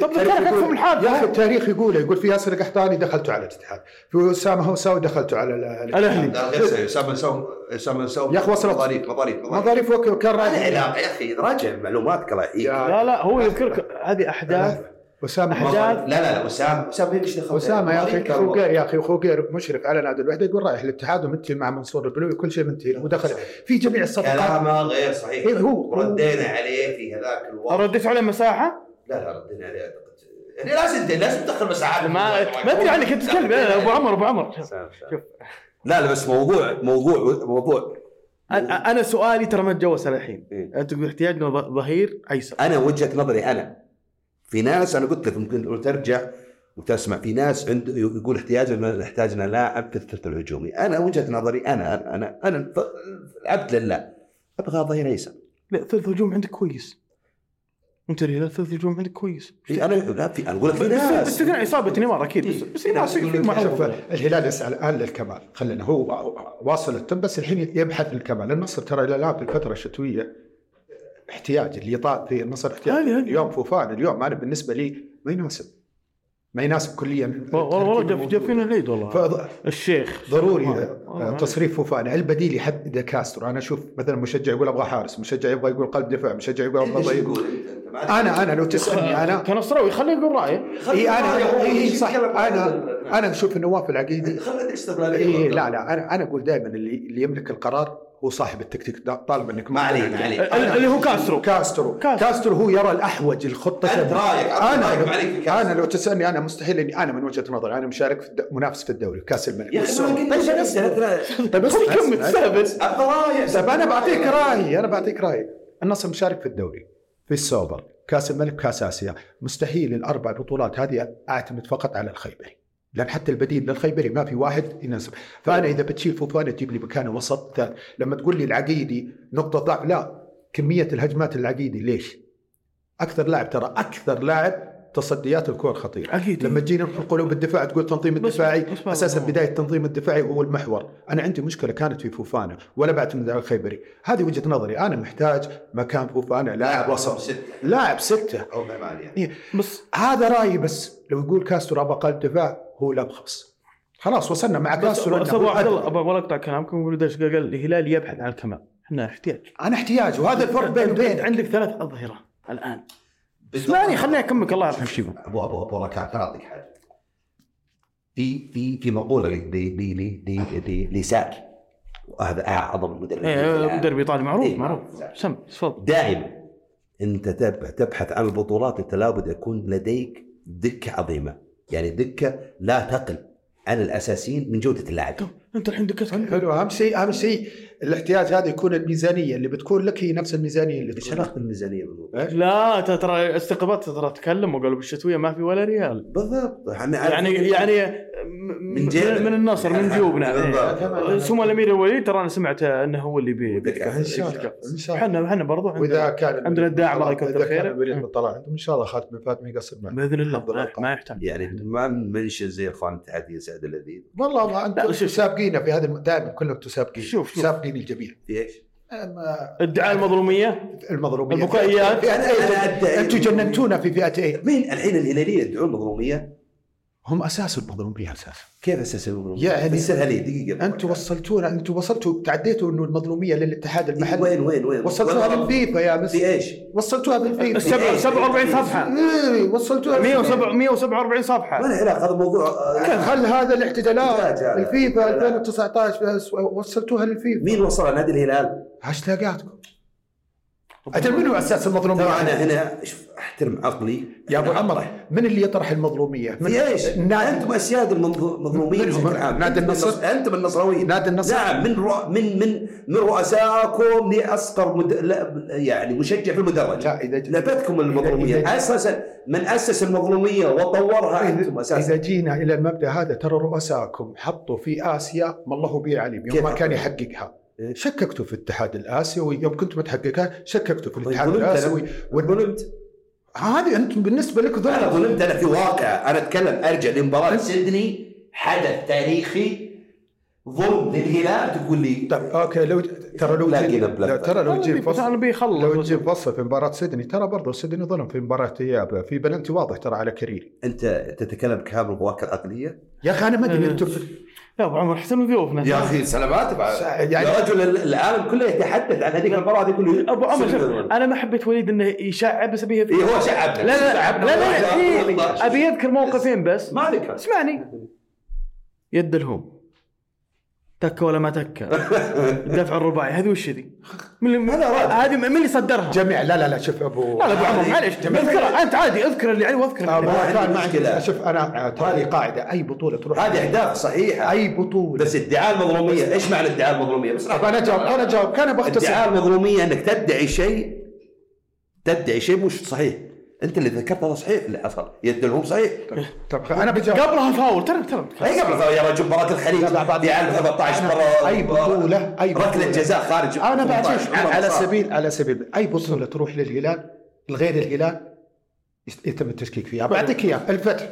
Speaker 1: طب
Speaker 3: التاريخ
Speaker 1: ذكرك
Speaker 3: يقول-
Speaker 1: اكثر من حاجه
Speaker 3: يا اخي التاريخ يقوله يقول في ياسر القحطاني دخلته على الاتحاد في اسامه هوساوي دخلته على ال-
Speaker 1: الأهلي.
Speaker 2: لا، غير سوي، اسامه نسوم اسامه نسوم
Speaker 3: يا أخي وصلت.
Speaker 2: مضاريف مضاريف مضاريف
Speaker 3: مظاريف وك- كان
Speaker 2: ما له
Speaker 3: رايح
Speaker 2: علاقه يا اخي راجع معلوماتك الله يحييك
Speaker 3: يا-
Speaker 1: لا لا هو يذكرك هذه احداث
Speaker 3: اسامه
Speaker 1: أحداث.
Speaker 3: هوساوي.
Speaker 2: لا لا لا وسام وسام ليش دخل
Speaker 3: اسامه يا اخي
Speaker 2: مضاريف
Speaker 3: خوقير يا اخي خوقير مشرف على نادي الوحده يقول رايح للاتحاد ومنتهي مع منصور البلوي كل شيء منتهي له ودخل في جميع الصفقات
Speaker 2: كلامه غير صحيح
Speaker 3: إيه هو-
Speaker 2: وردينا عليه في هذاك الوقت
Speaker 1: رديت على مساحه
Speaker 2: لا لا ردينا عليه اعتقد يعني لازم لازم تدخل مساحات
Speaker 1: ما ما ادري عنك انت تتكلم لا، لا، ابو عمر ابو عمر
Speaker 2: سام،
Speaker 1: شوف.
Speaker 2: سام. لا لا بس موضوع موضوع موضوع
Speaker 1: أنا- انا سؤالي ترى ما تجاوز على الحين
Speaker 2: إيه.
Speaker 1: انت تقول احتياجنا ظ- ظهير ايسر
Speaker 2: انا وجهه نظري انا في ناس انا قلت لك ممكن لو ترجع وتسمع في ناس عند يقول احتياجنا احتاجنا لاعب في الثلث الهجومي انا وجهه نظري انا انا انا الف- العبد لله ابغى ظهير ايسر
Speaker 1: لا ثلث هجوم عندك كويس انت الهلال ثلث هجوم عندك كويس
Speaker 2: في- انا لا في انا اقول لك
Speaker 1: بس-
Speaker 2: في
Speaker 1: بس-
Speaker 2: ناس
Speaker 1: باستثناء اصابه نيمار اكيد بس- بس نيمار
Speaker 2: ناس يقولون
Speaker 1: في
Speaker 3: إيه. شوف
Speaker 1: معروف
Speaker 3: الهلال يسعى الان للكمال خلينا هو واصل التم بس الحين يبحث الكمال النصر ترى الى الان في الفتره الشتويه احتياج اللي طاب في النصر احتياج
Speaker 1: هذه- هذه.
Speaker 3: اليوم فوفان اليوم انا بالنسبه لي ما يناسب ما يناسب كليا
Speaker 1: والله والله جاب جاب فينا العيد والله
Speaker 3: فض-
Speaker 1: الشيخ آه،
Speaker 3: ضروري آه،
Speaker 1: والله- والله.
Speaker 3: تصريف فوفان البديل يحدد كاسترو انا اشوف مثلا مشجع يقول ابغى حارس مشجع يبغى يقول قلب دفاع مشجع يقول ابغى
Speaker 2: إيش
Speaker 3: ضيق
Speaker 2: يقول أنت؟ أنت ما أدري.
Speaker 3: انا انا لو تسالني انا
Speaker 1: كنصراوي خليه يقول رايه
Speaker 3: اي انا
Speaker 2: خلي-
Speaker 3: اي صح
Speaker 2: يتكلم عن-
Speaker 3: انا انا اشوف إن نواف العقيدي
Speaker 2: خلي استقلاليه
Speaker 3: اي إيه، لا لا انا انا اقول دائما اللي اللي يملك القرار هو صاحب التكتيك دا- طالما انك
Speaker 2: ما علي ما علي
Speaker 1: ال- اللي هو كاسترو
Speaker 3: كاسترو
Speaker 1: كاسترو.
Speaker 3: كاسترو هو يرى الاحوج الخطه
Speaker 2: انت رايك أعطني رايك ما عليك في
Speaker 3: انا
Speaker 2: كاس.
Speaker 3: انا لو تسالني انا مستحيل اني انا من وجهه نظري انا مشارك في الد- منافس في الدوري كاس الملك
Speaker 2: يا اخي ما
Speaker 3: والسعودية.
Speaker 2: قلنا
Speaker 3: طيب
Speaker 2: شيء،
Speaker 3: بس-
Speaker 2: أنت لا-
Speaker 3: طيب بس
Speaker 1: خليه يكمل
Speaker 3: بس-
Speaker 1: تستهبل
Speaker 2: ابغى رايك
Speaker 3: طيب انا بعطيك رايي انا بعطيك رايي النصر مشارك في الدوري في السوبر كاس الملك كاس اسيا مستحيل الاربع بطولات هذه اعتمد فقط على الخيبري لان حتى البديل للخيبري ما في واحد يناسب فانا اذا بتشيل فوفانا تجيب لي مكانه وسط ثاني لما تقول لي العقيدي نقطه ضعف لا كميه الهجمات العقيدي ليش؟ اكثر لاعب ترى اكثر لاعب تصديات الكور خطيره
Speaker 1: اكيد
Speaker 3: لما تجينا في قلوب الدفاع تقول تنظيم
Speaker 1: بس-
Speaker 3: الدفاعي
Speaker 1: بس ما-
Speaker 3: اساسا
Speaker 1: ما-
Speaker 3: بدايه التنظيم الدفاعي هو المحور، انا عندي مشكله كانت في فوفانا ولا بعتمد على الخيبري، هذه وجهه نظري انا محتاج مكان فوفانا لاعب وسط
Speaker 2: سته
Speaker 3: لاعب سته
Speaker 2: او ثمانيه
Speaker 1: بس
Speaker 3: هذا رايي بس لو يقول كاسترو ابغى قلب دفاع هو الابخص خلاص وصلنا مع
Speaker 1: بس
Speaker 3: كاسترو
Speaker 1: بس
Speaker 3: إنه
Speaker 1: ابو
Speaker 3: هو
Speaker 1: عبد
Speaker 3: الأدنى.
Speaker 1: الله ابغى أبغى اقطع كلامكم يقول ليش قال الهلال يبحث عن الكمال احنا احتياج
Speaker 3: انا احتياج وهذا الفرق بين
Speaker 1: عندك,
Speaker 3: بين
Speaker 1: عندك ثلاث اظهره الان ثاني خليني اكمل الله يرحم شيبه
Speaker 2: ابو ابو ابو ركعت أنا اعطيك حاجه في في في مقوله ل- ل- ل- ل- ل- لسار وهذا اعظم المدربين
Speaker 1: إيه،
Speaker 2: الآن.
Speaker 1: مدرب ايطالي معروف
Speaker 2: إيه،
Speaker 1: معروف
Speaker 2: سار.
Speaker 1: سم تفضل
Speaker 2: دائما انت تب- تبحث عن البطولات انت لابد يكون لديك دكه عظيمه يعني دكه لا تقل عن الاساسيين من جوده اللاعب
Speaker 1: طب انت الحين دكت عندك
Speaker 3: حلو اهم شيء اهم شيء الاحتياج هذا يكون الميزانيه اللي بتكون لك هي نفس الميزانيه اللي
Speaker 2: ايش
Speaker 3: تكون لك.
Speaker 2: علاقه الميزانيه بالموضوع؟
Speaker 1: لا ت- ترى استقبلت ترى تكلم وقالوا بالشتويه ما في ولا ريال
Speaker 2: بالضبط إحنا
Speaker 1: يعني
Speaker 2: عارفين-
Speaker 1: يعني
Speaker 2: من
Speaker 1: من
Speaker 2: جيبنا.
Speaker 1: من النصر من
Speaker 3: (laughs)
Speaker 1: جيوبنا إيه.
Speaker 2: بالضبط.
Speaker 1: ثم الامير الوليد ترى انا سمعت انه هو اللي بي
Speaker 2: ودك-
Speaker 3: ان شاء الله ان شاء الله
Speaker 1: احنا احنا برضو عندنا
Speaker 3: واذا كان
Speaker 1: عندنا الداعم الله يكثر
Speaker 3: اذا كان
Speaker 1: خيره.
Speaker 3: الوليد طلع عندهم ان شاء الله خالد بن فهد ما يقصر معنا
Speaker 1: باذن الله إيه،
Speaker 3: الحمد لله.
Speaker 1: ما- ما يحتاج
Speaker 2: يعني ما منشن زي اخوان الاتحاد يا سعد اللذيذ
Speaker 3: والله ما
Speaker 1: لا،
Speaker 3: انتم
Speaker 1: شوف.
Speaker 3: سابقين في هذا الم- دائما كلكم تسابقين
Speaker 1: شوف- شوف.
Speaker 3: سابقين الجميع
Speaker 2: في ايش؟
Speaker 3: أما
Speaker 1: ادعاء المظلوميه
Speaker 3: المضروبين
Speaker 1: البكائيات.
Speaker 3: انتم جننتونا في فئه ايه
Speaker 2: مين الحين الهلاليين يدعون مظلوميه
Speaker 3: هم اساس المظلوميه اساس
Speaker 2: كيف اساس المظلوميه؟
Speaker 3: يا هلي.
Speaker 2: فسرها لي دقيقه
Speaker 3: انتم وصلتونا انتم وصلتوا تعديتوا انه المظلوميه للاتحاد المحلي
Speaker 2: وين وين وين؟
Speaker 3: وصلتوها
Speaker 2: وين؟
Speaker 3: بالفيفا يا بس
Speaker 2: في إيه؟ ايش؟
Speaker 3: وصلتوها بالفيفا
Speaker 1: السبعة- 47 صفحه
Speaker 3: ايه وصلتوها
Speaker 1: 107 147
Speaker 2: ما
Speaker 3: إيه.
Speaker 1: صفحه
Speaker 2: له علاقه هذا موضوع آه،
Speaker 3: خل هذا
Speaker 2: لا،
Speaker 3: الاحتجالات
Speaker 2: لا، لا.
Speaker 3: الفيفا
Speaker 2: لا.
Speaker 3: 2019 بس وصلتوها للفيفا
Speaker 2: مين وصل نادي الهلال؟
Speaker 3: هاشتاقاتكم اجل منو اساس المظلوميه؟
Speaker 2: ترى انا هنا شوف احترم عقلي
Speaker 3: يعني يا ابو عمر من اللي يطرح المظلوميه؟ من
Speaker 2: في ايش؟
Speaker 3: نادي-
Speaker 2: انتم اسياد المنظو- المظلوميه
Speaker 3: منهم؟
Speaker 2: بشكل عام
Speaker 3: نادي
Speaker 2: أنتم
Speaker 3: النصر؟
Speaker 2: النص- انتم النصراويين
Speaker 3: نادي النصر
Speaker 2: نعم من رؤ... من من من رؤسائكم لاصغر مد... لا يعني مشجع في المدرج
Speaker 3: لا اذا
Speaker 2: لبتكم المظلوميه
Speaker 3: إذا-
Speaker 2: اساسا من اسس المظلوميه وطورها انتم اساسا
Speaker 3: اذا جينا الى المبدا هذا ترى رؤسائكم حطوا في اسيا ما الله به عليم يوم
Speaker 2: كيف
Speaker 3: ما كان يحققها
Speaker 2: إيه.
Speaker 3: شككتوا في الاتحاد الاسيوي يوم كنتم تحققها شككتوا في
Speaker 2: طيب
Speaker 3: الاتحاد
Speaker 2: ظلمت أنا.
Speaker 3: الاسيوي وال-
Speaker 2: ظلمت
Speaker 3: هذه انتم بالنسبه لك
Speaker 2: انا
Speaker 3: ظلم
Speaker 2: ظلمت انا في واقع انا اتكلم ارجع لمباراه سيدني حدث تاريخي ظلم للهلال تقول لي
Speaker 3: طيب اوكي لو ج- ترى لو
Speaker 2: لا،
Speaker 3: جيب
Speaker 2: لا، لا.
Speaker 3: لا، ترى لو جيب
Speaker 1: انا
Speaker 3: فصل لو
Speaker 1: بيخلص
Speaker 3: جيب فصل في مباراه سيدني ترى برضه سيدني ظلم في مباراه اياب في بلنتي واضح ترى على كريري
Speaker 2: انت تتكلم كامل بواقع عقليه
Speaker 3: يا اخي انا ما ادري
Speaker 1: إيه.
Speaker 3: انتم
Speaker 1: لا ابو عمر احسن ضيوفنا
Speaker 2: يا اخي سلامات بعد.
Speaker 3: يعني
Speaker 2: يا رجل ال- العالم كله يتحدث عن هذيك المباراه يقول لي
Speaker 1: ابو عمر شوف
Speaker 2: سيدني.
Speaker 1: انا ما حبيت وليد انه يشعب بس ابيه
Speaker 2: إيه، هو شعبنا
Speaker 1: لا لا لا
Speaker 2: شعبنا
Speaker 1: لا, لا
Speaker 2: والله.
Speaker 1: إيه،
Speaker 2: والله.
Speaker 1: ابي اذكر موقفين بس
Speaker 2: (laughs) ما
Speaker 1: (laughs)
Speaker 2: عليك
Speaker 1: اسمعني يد الهوم تكه ولا ما تكه الدفع الرباعي هذه وش ذي؟ من اللي
Speaker 2: هذا رد.
Speaker 1: هذه من اللي صدرها؟
Speaker 3: جميع لا لا لا شوف ابو
Speaker 1: لا لا ابو عمر معليش اذكرها انت عادي اذكر اللي يعني علي واذكر اللي
Speaker 3: آه، ما
Speaker 1: عليه.
Speaker 2: عندي
Speaker 3: كان ما عندي
Speaker 2: مشكلة.
Speaker 3: شوف انا آه، ترى لي قاعده اي بطوله تروح
Speaker 2: هذه اهداف
Speaker 1: أيوة.
Speaker 2: صحيحه
Speaker 3: اي بطوله
Speaker 2: بس ادعاء المظلوميه ايش معنى ادعاء المظلوميه بس
Speaker 3: طب انا جاوب انا جاوب انا بختصر
Speaker 2: ادعاء المظلوميه انك تدعي شيء تدعي شيء مش صحيح انت اللي ذكرت هذا صحيح اللي حصل يدلهم صحيح
Speaker 3: طب انا بجاوب
Speaker 1: قبلها فاول ترى ترى
Speaker 2: اي قبل يا رجل مباراه الخليج
Speaker 3: لا، بعد-
Speaker 2: دعاء 13
Speaker 3: أنا-
Speaker 2: مره
Speaker 3: أي بطولة- أي
Speaker 2: ركله
Speaker 3: بطولة.
Speaker 2: جزاء خارج
Speaker 3: انا
Speaker 2: 18.
Speaker 3: بعد على
Speaker 2: صار.
Speaker 3: سبيل على سبيل اي بطوله تروح للهلال غير الهلال يس- يتم التشكيك فيها بعطيك اياه الفتح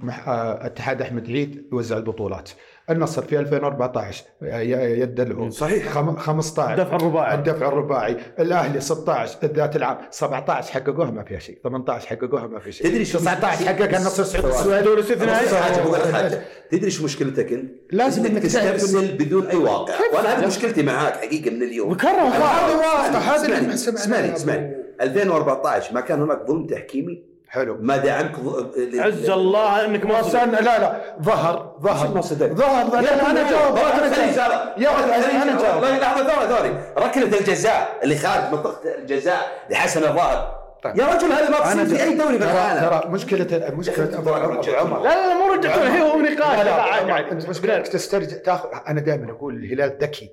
Speaker 3: مح... آه، اتحاد احمد عيد يوزع البطولات النصر في 2014 آه، ي- يد العود
Speaker 2: صحيح.
Speaker 3: خم... 15
Speaker 1: الدفع الرباعي
Speaker 3: الدفع الرباعي الاهلي 16 ذات العام 17 حققوها ما فيها شيء 18 حققوها ما في شيء
Speaker 2: تدري شو
Speaker 3: 19 حققها النصر سعود
Speaker 1: دوري
Speaker 2: بس
Speaker 1: استثنائي
Speaker 2: حاجه بقول لك حاجه تدري شو مشكلتك انت؟
Speaker 3: لازم انك تعرف
Speaker 2: تسترسل بدون اي واقع
Speaker 3: كيف؟
Speaker 2: وانا هذه مشكلتي معاك حقيقه من اليوم
Speaker 1: وكرر
Speaker 3: هذا
Speaker 1: فاول
Speaker 3: واقع هذا اللي
Speaker 2: اسمعني
Speaker 3: ما سمعناه.
Speaker 2: اسمعني اسمعني 2014 ما كان هناك ظلم تحكيمي
Speaker 3: حلو
Speaker 2: ما دعمك ظ-
Speaker 1: عز الله انك ما
Speaker 3: وصلنا لا لا ظهر
Speaker 2: شو ما
Speaker 3: ظهر
Speaker 2: صدق؟
Speaker 3: ظهر ظهر لا، انا جاوب انا جاوب
Speaker 2: يا
Speaker 3: يا ولد،
Speaker 2: ولد
Speaker 3: أنا
Speaker 2: انا
Speaker 3: جاوب.
Speaker 2: جاوب لحظه ثواني ثواني ركله الجزاء اللي خارج منطقه الجزاء لحسن الظاهر
Speaker 3: طيب.
Speaker 2: يا رجل هذا ما
Speaker 3: أنا
Speaker 2: تصير في اي دوري في
Speaker 3: ترى
Speaker 2: العالم
Speaker 3: ترى مشكله مشكله ابو عمر
Speaker 2: رجل عمر.
Speaker 1: لا لا لا مو رجعت هي هو نقاش لا
Speaker 3: لا، لا، يعني
Speaker 1: عادي،
Speaker 3: عمر،
Speaker 1: عادي.
Speaker 3: انت مشكلتك تسترجع تاخذ انا دائما اقول الهلال ذكي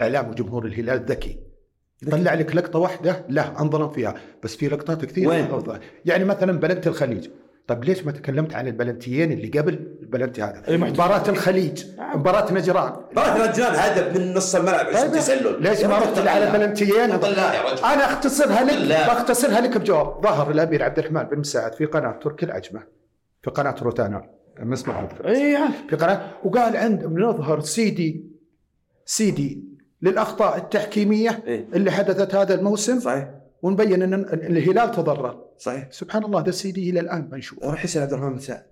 Speaker 3: اعلام وجمهور الهلال ذكي طلع لك لقطه واحده لا انظلم فيها بس في لقطات كثير
Speaker 2: وين؟
Speaker 3: طيب أفضل. يعني مثلا بلنت الخليج طب ليش ما تكلمت عن البلنتيين اللي قبل البلنتي هذا
Speaker 1: أي محتوى.
Speaker 3: مباراه الخليج مباراه نجران
Speaker 2: مباراه الرجال هدف من نص الملعب عشان
Speaker 3: طيب،
Speaker 2: تسلل
Speaker 3: ليش ما رحت طيب. إلا على بلنتيين
Speaker 2: لا يا رجل
Speaker 3: انا اختصرها لك
Speaker 2: نعم. لا.
Speaker 3: بختصرها لك بجواب ظهر الامير عبد الرحمن بن مساعد في قناه تركي العجمه في قناه روتانا مسمع
Speaker 1: اي عارف.
Speaker 3: في قناه وقال عند بنظهر سيدي سيدي للاخطاء التحكيميه
Speaker 2: إيه.
Speaker 3: اللي حدثت هذا الموسم
Speaker 2: صحيح
Speaker 3: ونبين ان الهلال تضرر
Speaker 2: صحيح
Speaker 3: سبحان الله ده السيدي الى الان ما نشوفه
Speaker 2: روح يسال عبد الرحمن بن سعد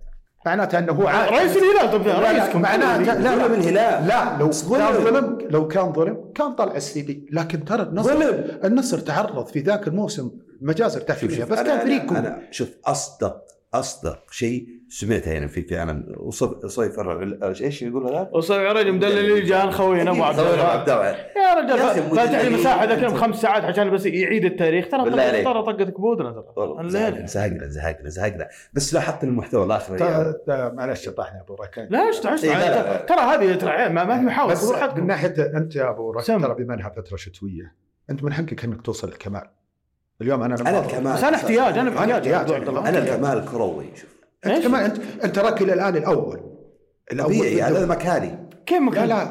Speaker 3: معناته انه هو عارف
Speaker 1: رئيس الهلال طب رئيسكم
Speaker 3: معناته لا
Speaker 2: ظلم
Speaker 3: لا
Speaker 2: الهلال
Speaker 3: لا لو كان
Speaker 2: ظلم.
Speaker 3: ظلم لو كان ظلم كان طلع السيدي لكن ترى النصر
Speaker 2: ظلم
Speaker 3: النصر تعرض في ذاك الموسم مجازر تحكيميه بس
Speaker 2: أنا-
Speaker 3: كان فريقكم
Speaker 2: أنا- انا شوف اصدق اصدق شيء سمعته يعني في في عالم وصف- صيف الرعل- ايش يقول هذا؟
Speaker 1: وصار يا رجل مدلل جان خوينا ابو عبد
Speaker 2: صيف
Speaker 1: الله
Speaker 2: عبد الله
Speaker 1: يا
Speaker 2: يا أخي
Speaker 1: رجال فاتح لي
Speaker 2: مدلل.
Speaker 1: مساحه ذاك اليوم خمس ساعات عشان بس يعيد التاريخ ترى
Speaker 2: بالله
Speaker 1: طقت-
Speaker 2: عليك.
Speaker 1: ترى طقت كبودنا ترى
Speaker 2: والله
Speaker 1: الليلة.
Speaker 2: زهقنا زهقنا زهقنا زهقنا بس لاحظت المحتوى الاخر يعني.
Speaker 3: تا- تا- معلش طحنا يا ابو ركان
Speaker 1: لا عشت عشت
Speaker 2: إيه، لا، لا، لا.
Speaker 1: ترى هذه ترى عيب، ما ما في محاولة
Speaker 3: بس
Speaker 1: خذوا راحتكم.
Speaker 3: من ناحيه انت يا ابو ركان
Speaker 1: سم.
Speaker 3: ترى بما انها فتره شتويه انت من حقك انك توصل للكمال اليوم انا لما
Speaker 2: انا
Speaker 3: أروح-
Speaker 2: الكمال
Speaker 1: بس انا احتياج انا باحتياج يا
Speaker 3: احتياج.
Speaker 1: أبو عبد الله
Speaker 2: انا الكمال كروي شوف
Speaker 1: إيش؟
Speaker 3: انت كمان انت انت راكي الى الان الاول الاول
Speaker 2: طبيعي
Speaker 3: بالدوري.
Speaker 2: يعني، هذا مكاني
Speaker 1: كيف
Speaker 3: لا
Speaker 1: مكان؟
Speaker 3: لا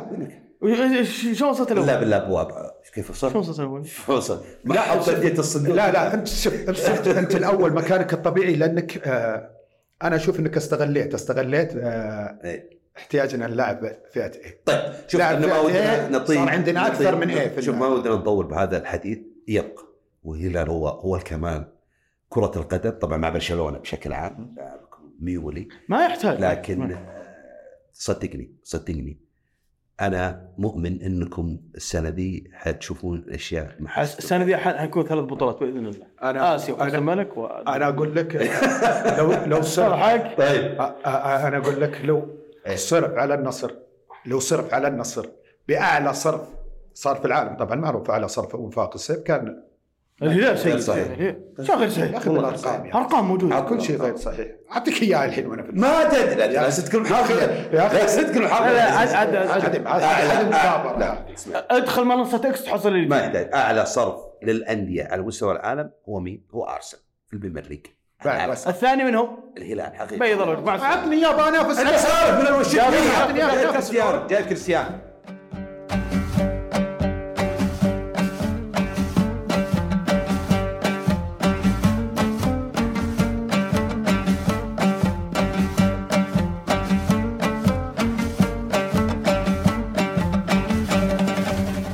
Speaker 1: شلون وصلت
Speaker 2: لا
Speaker 1: الاول؟
Speaker 2: بالله ابواب كيف
Speaker 1: شلون
Speaker 2: وصلت؟
Speaker 1: وصلت الاول؟
Speaker 2: وصل ما حط بديت الصندوق
Speaker 3: لا لا انت شف- شفت انت الاول مكانك الطبيعي لانك آه انا اشوف انك استغليت استغليت آه
Speaker 2: إيه.
Speaker 3: احتياجنا للاعب فئه ايه
Speaker 2: طيب شوف
Speaker 3: لا،
Speaker 2: انا ما
Speaker 3: فعلا
Speaker 2: ودنا
Speaker 3: إيه،
Speaker 2: نطيب
Speaker 3: صار عندنا
Speaker 2: نطيب.
Speaker 3: أكثر من إيه في
Speaker 2: شوف ما
Speaker 3: النهاية.
Speaker 2: ودنا نطول بهذا الحديث يبقى والهلال هو هو الكمال كرة القدم طبعا مع برشلونة بشكل عام لاعبكم ميولي
Speaker 1: ما يحتاج
Speaker 2: لكن
Speaker 1: ما-
Speaker 2: آه، صدقني صدقني انا مؤمن انكم السنة دي حتشوفون اشياء
Speaker 1: حس- السنه ذي ح- حنكون ثلاث بطولات باذن الله
Speaker 3: انا
Speaker 1: اسيا وكاس
Speaker 3: انا
Speaker 1: الملك و
Speaker 3: انا اقول لك آه، لو (laughs) لو صرف
Speaker 1: ترى حق
Speaker 2: طيب
Speaker 3: أ- أ- انا اقول لك لو
Speaker 2: إيه.
Speaker 3: صرف على النصر لو صرف على النصر باعلى صرف صار في العالم طبعا معروف اعلى صرف وانفاق السيف كان
Speaker 1: الهلال إيه. سيء
Speaker 2: صحيح.
Speaker 1: الهلال- شغل سيء
Speaker 3: ياخذ
Speaker 2: والله
Speaker 3: الارقام يعني.
Speaker 1: ارقام موجوده
Speaker 3: كل شيء غير صحيح اعطيك اياه الحين وانا في
Speaker 2: ما تدري
Speaker 3: يا
Speaker 2: لا
Speaker 3: أخي-
Speaker 2: صدق
Speaker 3: يا أخي-
Speaker 2: المحاضرة
Speaker 3: يا أخي.
Speaker 2: لا صدق المحاضرة
Speaker 1: لا لا عاد- عاد- عاد-
Speaker 3: عدم
Speaker 2: أعلى-
Speaker 3: عدم
Speaker 2: أعلى-
Speaker 3: مقابله
Speaker 2: لا اسمع.
Speaker 1: ادخل منصه اكس تحصل لي
Speaker 2: ما يحتاج اعلى صرف للانديه على مستوى العالم هو مين؟ هو ارسنال في البريمير ليج
Speaker 3: بعد بس.
Speaker 1: الثاني منهم
Speaker 2: الهلال حقيقي
Speaker 1: بيض الوجه مع السلامة.
Speaker 3: اعطني اياه بنافس
Speaker 2: انت صارف من
Speaker 3: يا أخي،
Speaker 2: الوشيط
Speaker 3: أعطني إياه،
Speaker 2: جايب
Speaker 3: أعطني إياه.
Speaker 2: كريستيانو جايب كريستيانو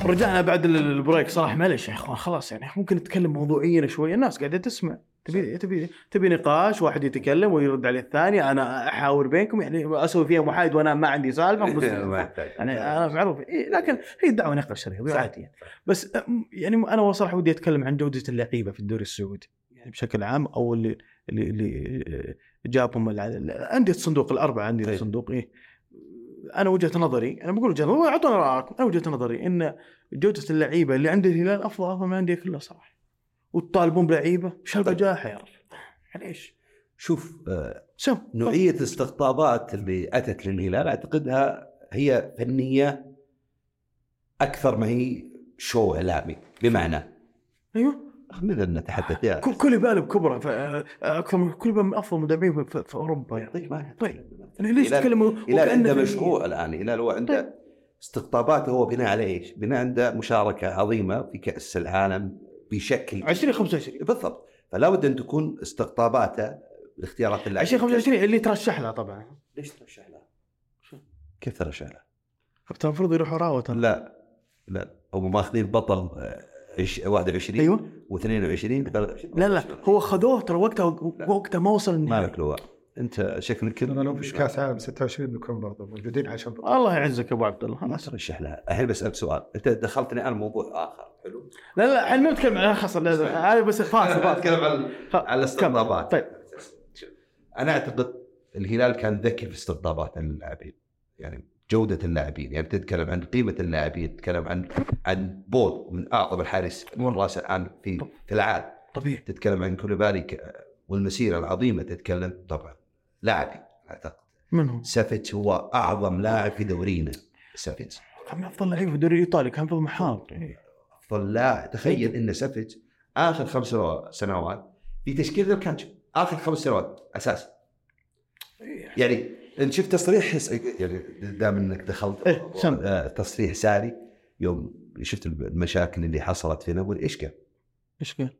Speaker 1: رجعنا بعد ال- البريك صراحه معلش يا اخوان خلاص يعني ممكن نتكلم موضوعيا شويه الناس قاعده تسمع تبي تبي تبي نقاش واحد يتكلم ويرد عليه الثاني انا احاور بينكم يعني اسوي فيها محايد وانا ما عندي سالفه
Speaker 2: (laughs) إيه، ما
Speaker 1: بس-
Speaker 2: يحتاج
Speaker 1: يعني انا معروف إيه لكن هي دعوه نقل شرعي عادي يعني. بس أم- يعني انا صراحه ودي اتكلم عن جوده اللعيبه في الدوري السعودي يعني بشكل عام او اللي اللي, اللي آه، جابهم الع- ال- انديه الصندوق الاربعه انديه
Speaker 2: طيب.
Speaker 1: الصندوق ايه انا وجهه نظري انا بقول وجهه نظري اعطونا رايكم انا وجهه نظري ان جوده اللعيبه اللي عند الهلال افضل افضل من الانديه كلها صراحه وتطالبون بلعيبه شلبه جاحه يا يعني رجل معليش
Speaker 2: شوف آه،
Speaker 1: سم
Speaker 2: نوعيه الاستقطابات اللي اتت للهلال اعتقدها هي فنيه اكثر ما هي شو اعلامي بمعنى
Speaker 1: ايوه
Speaker 2: خلينا نتحدث يا
Speaker 1: كل- كوليبالي بكبره ف- اكثر من كوليبالي من افضل مدافعين في, في اوروبا يعني
Speaker 2: طيب ما
Speaker 1: طيب. يعني ليش
Speaker 2: الهلال-
Speaker 1: تتكلم
Speaker 2: الهلال
Speaker 1: وكأنه
Speaker 2: عنده
Speaker 1: في- طيب.
Speaker 2: مشروع الان الهلال هو عنده استقطاباته هو بناء على ايش؟ بناء عنده مشاركه عظيمه في كاس العالم بشكل
Speaker 1: 20 25
Speaker 2: بالضبط فلا بد ان تكون استقطاباته باختيارات اللاعب
Speaker 1: 20 25 اللي ترشح لها طبعا
Speaker 2: ليش ترشح له؟ كيف ترشح له؟
Speaker 1: المفروض يروحوا راوة ترى.
Speaker 2: لا لا هم ماخذين بطل آه، عش- 21
Speaker 1: ايوه
Speaker 2: و22 و23
Speaker 1: لا لا هو خذوه ترى وقتها وقتها ما وصل النهائي
Speaker 2: مالك لواء انت شكلك كذا
Speaker 3: لو فيش كاس عالم 26 بنكون برضه موجودين عشان
Speaker 1: الله يعزك يا ابو عبد الله
Speaker 2: ما ترشح لها الحين بسالك سؤال انت دخلتني انا موضوع اخر حلو
Speaker 1: لا لا احنا ما نتكلم عن خلاص لا، لا، هذا بس فاصل
Speaker 2: أنا
Speaker 1: فاصل
Speaker 2: اتكلم عن على الاستقطابات
Speaker 1: طيب.
Speaker 2: انا اعتقد الهلال كان ذكي في استقطابات اللاعبين يعني جوده اللاعبين يعني تتكلم عن قيمه اللاعبين تتكلم عن عن بول من اعظم الحارس من راس الان في في العالم
Speaker 1: طبيعي
Speaker 2: تتكلم عن كوليبالي ك- والمسيره العظيمه تتكلم طبعا لاعبي اعتقد
Speaker 1: منهم
Speaker 2: سافيتش هو اعظم لاعب في دورينا سافيتش
Speaker 1: كان من افضل لعيبه في الدوري الايطالي أيوه، كان في المحاط إيه.
Speaker 2: افضل لاعب تخيل ان سافيتش اخر خمس سنوا- سنوات في تشكيله الكانتشو اخر خمس سنوات اساسي يعني انت شفت تصريح س- يعني دام انك دخلت
Speaker 1: إيه، سم.
Speaker 2: آه، تصريح ساري يوم شفت المشاكل اللي حصلت في نابولي ايش قال؟
Speaker 1: ايش قال؟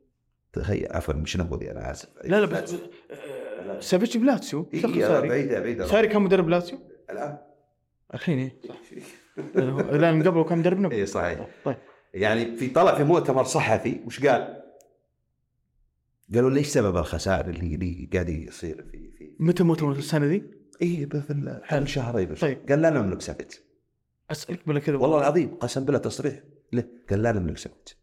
Speaker 2: تخيل عفوا مش نابولي انا اسف
Speaker 1: لا لا بس آه، سافيتش بلاتسيو
Speaker 2: إيه،
Speaker 1: دخل
Speaker 2: إيه،
Speaker 1: ساري
Speaker 2: بعيده بعيده
Speaker 1: ساري كان مدرب لاتسيو
Speaker 2: الان
Speaker 1: الحين (laughs) ايه لان قبله كان مدرب نابولي
Speaker 2: اي إيه، صحيح
Speaker 1: طيب
Speaker 2: يعني في طلع في مؤتمر صحفي وش قال؟ قالوا ليش سبب الخسائر اللي اللي قاعد يصير في في إيه،
Speaker 1: متى متى متى السنه ذي؟
Speaker 2: اي في
Speaker 1: حلو.
Speaker 2: حل شهرين
Speaker 1: طيب.
Speaker 2: قال لا نملك سافيتش
Speaker 1: اسالك بلا كذا
Speaker 2: والله العظيم قسم بالله تصريح له قال لا نملك سافيتش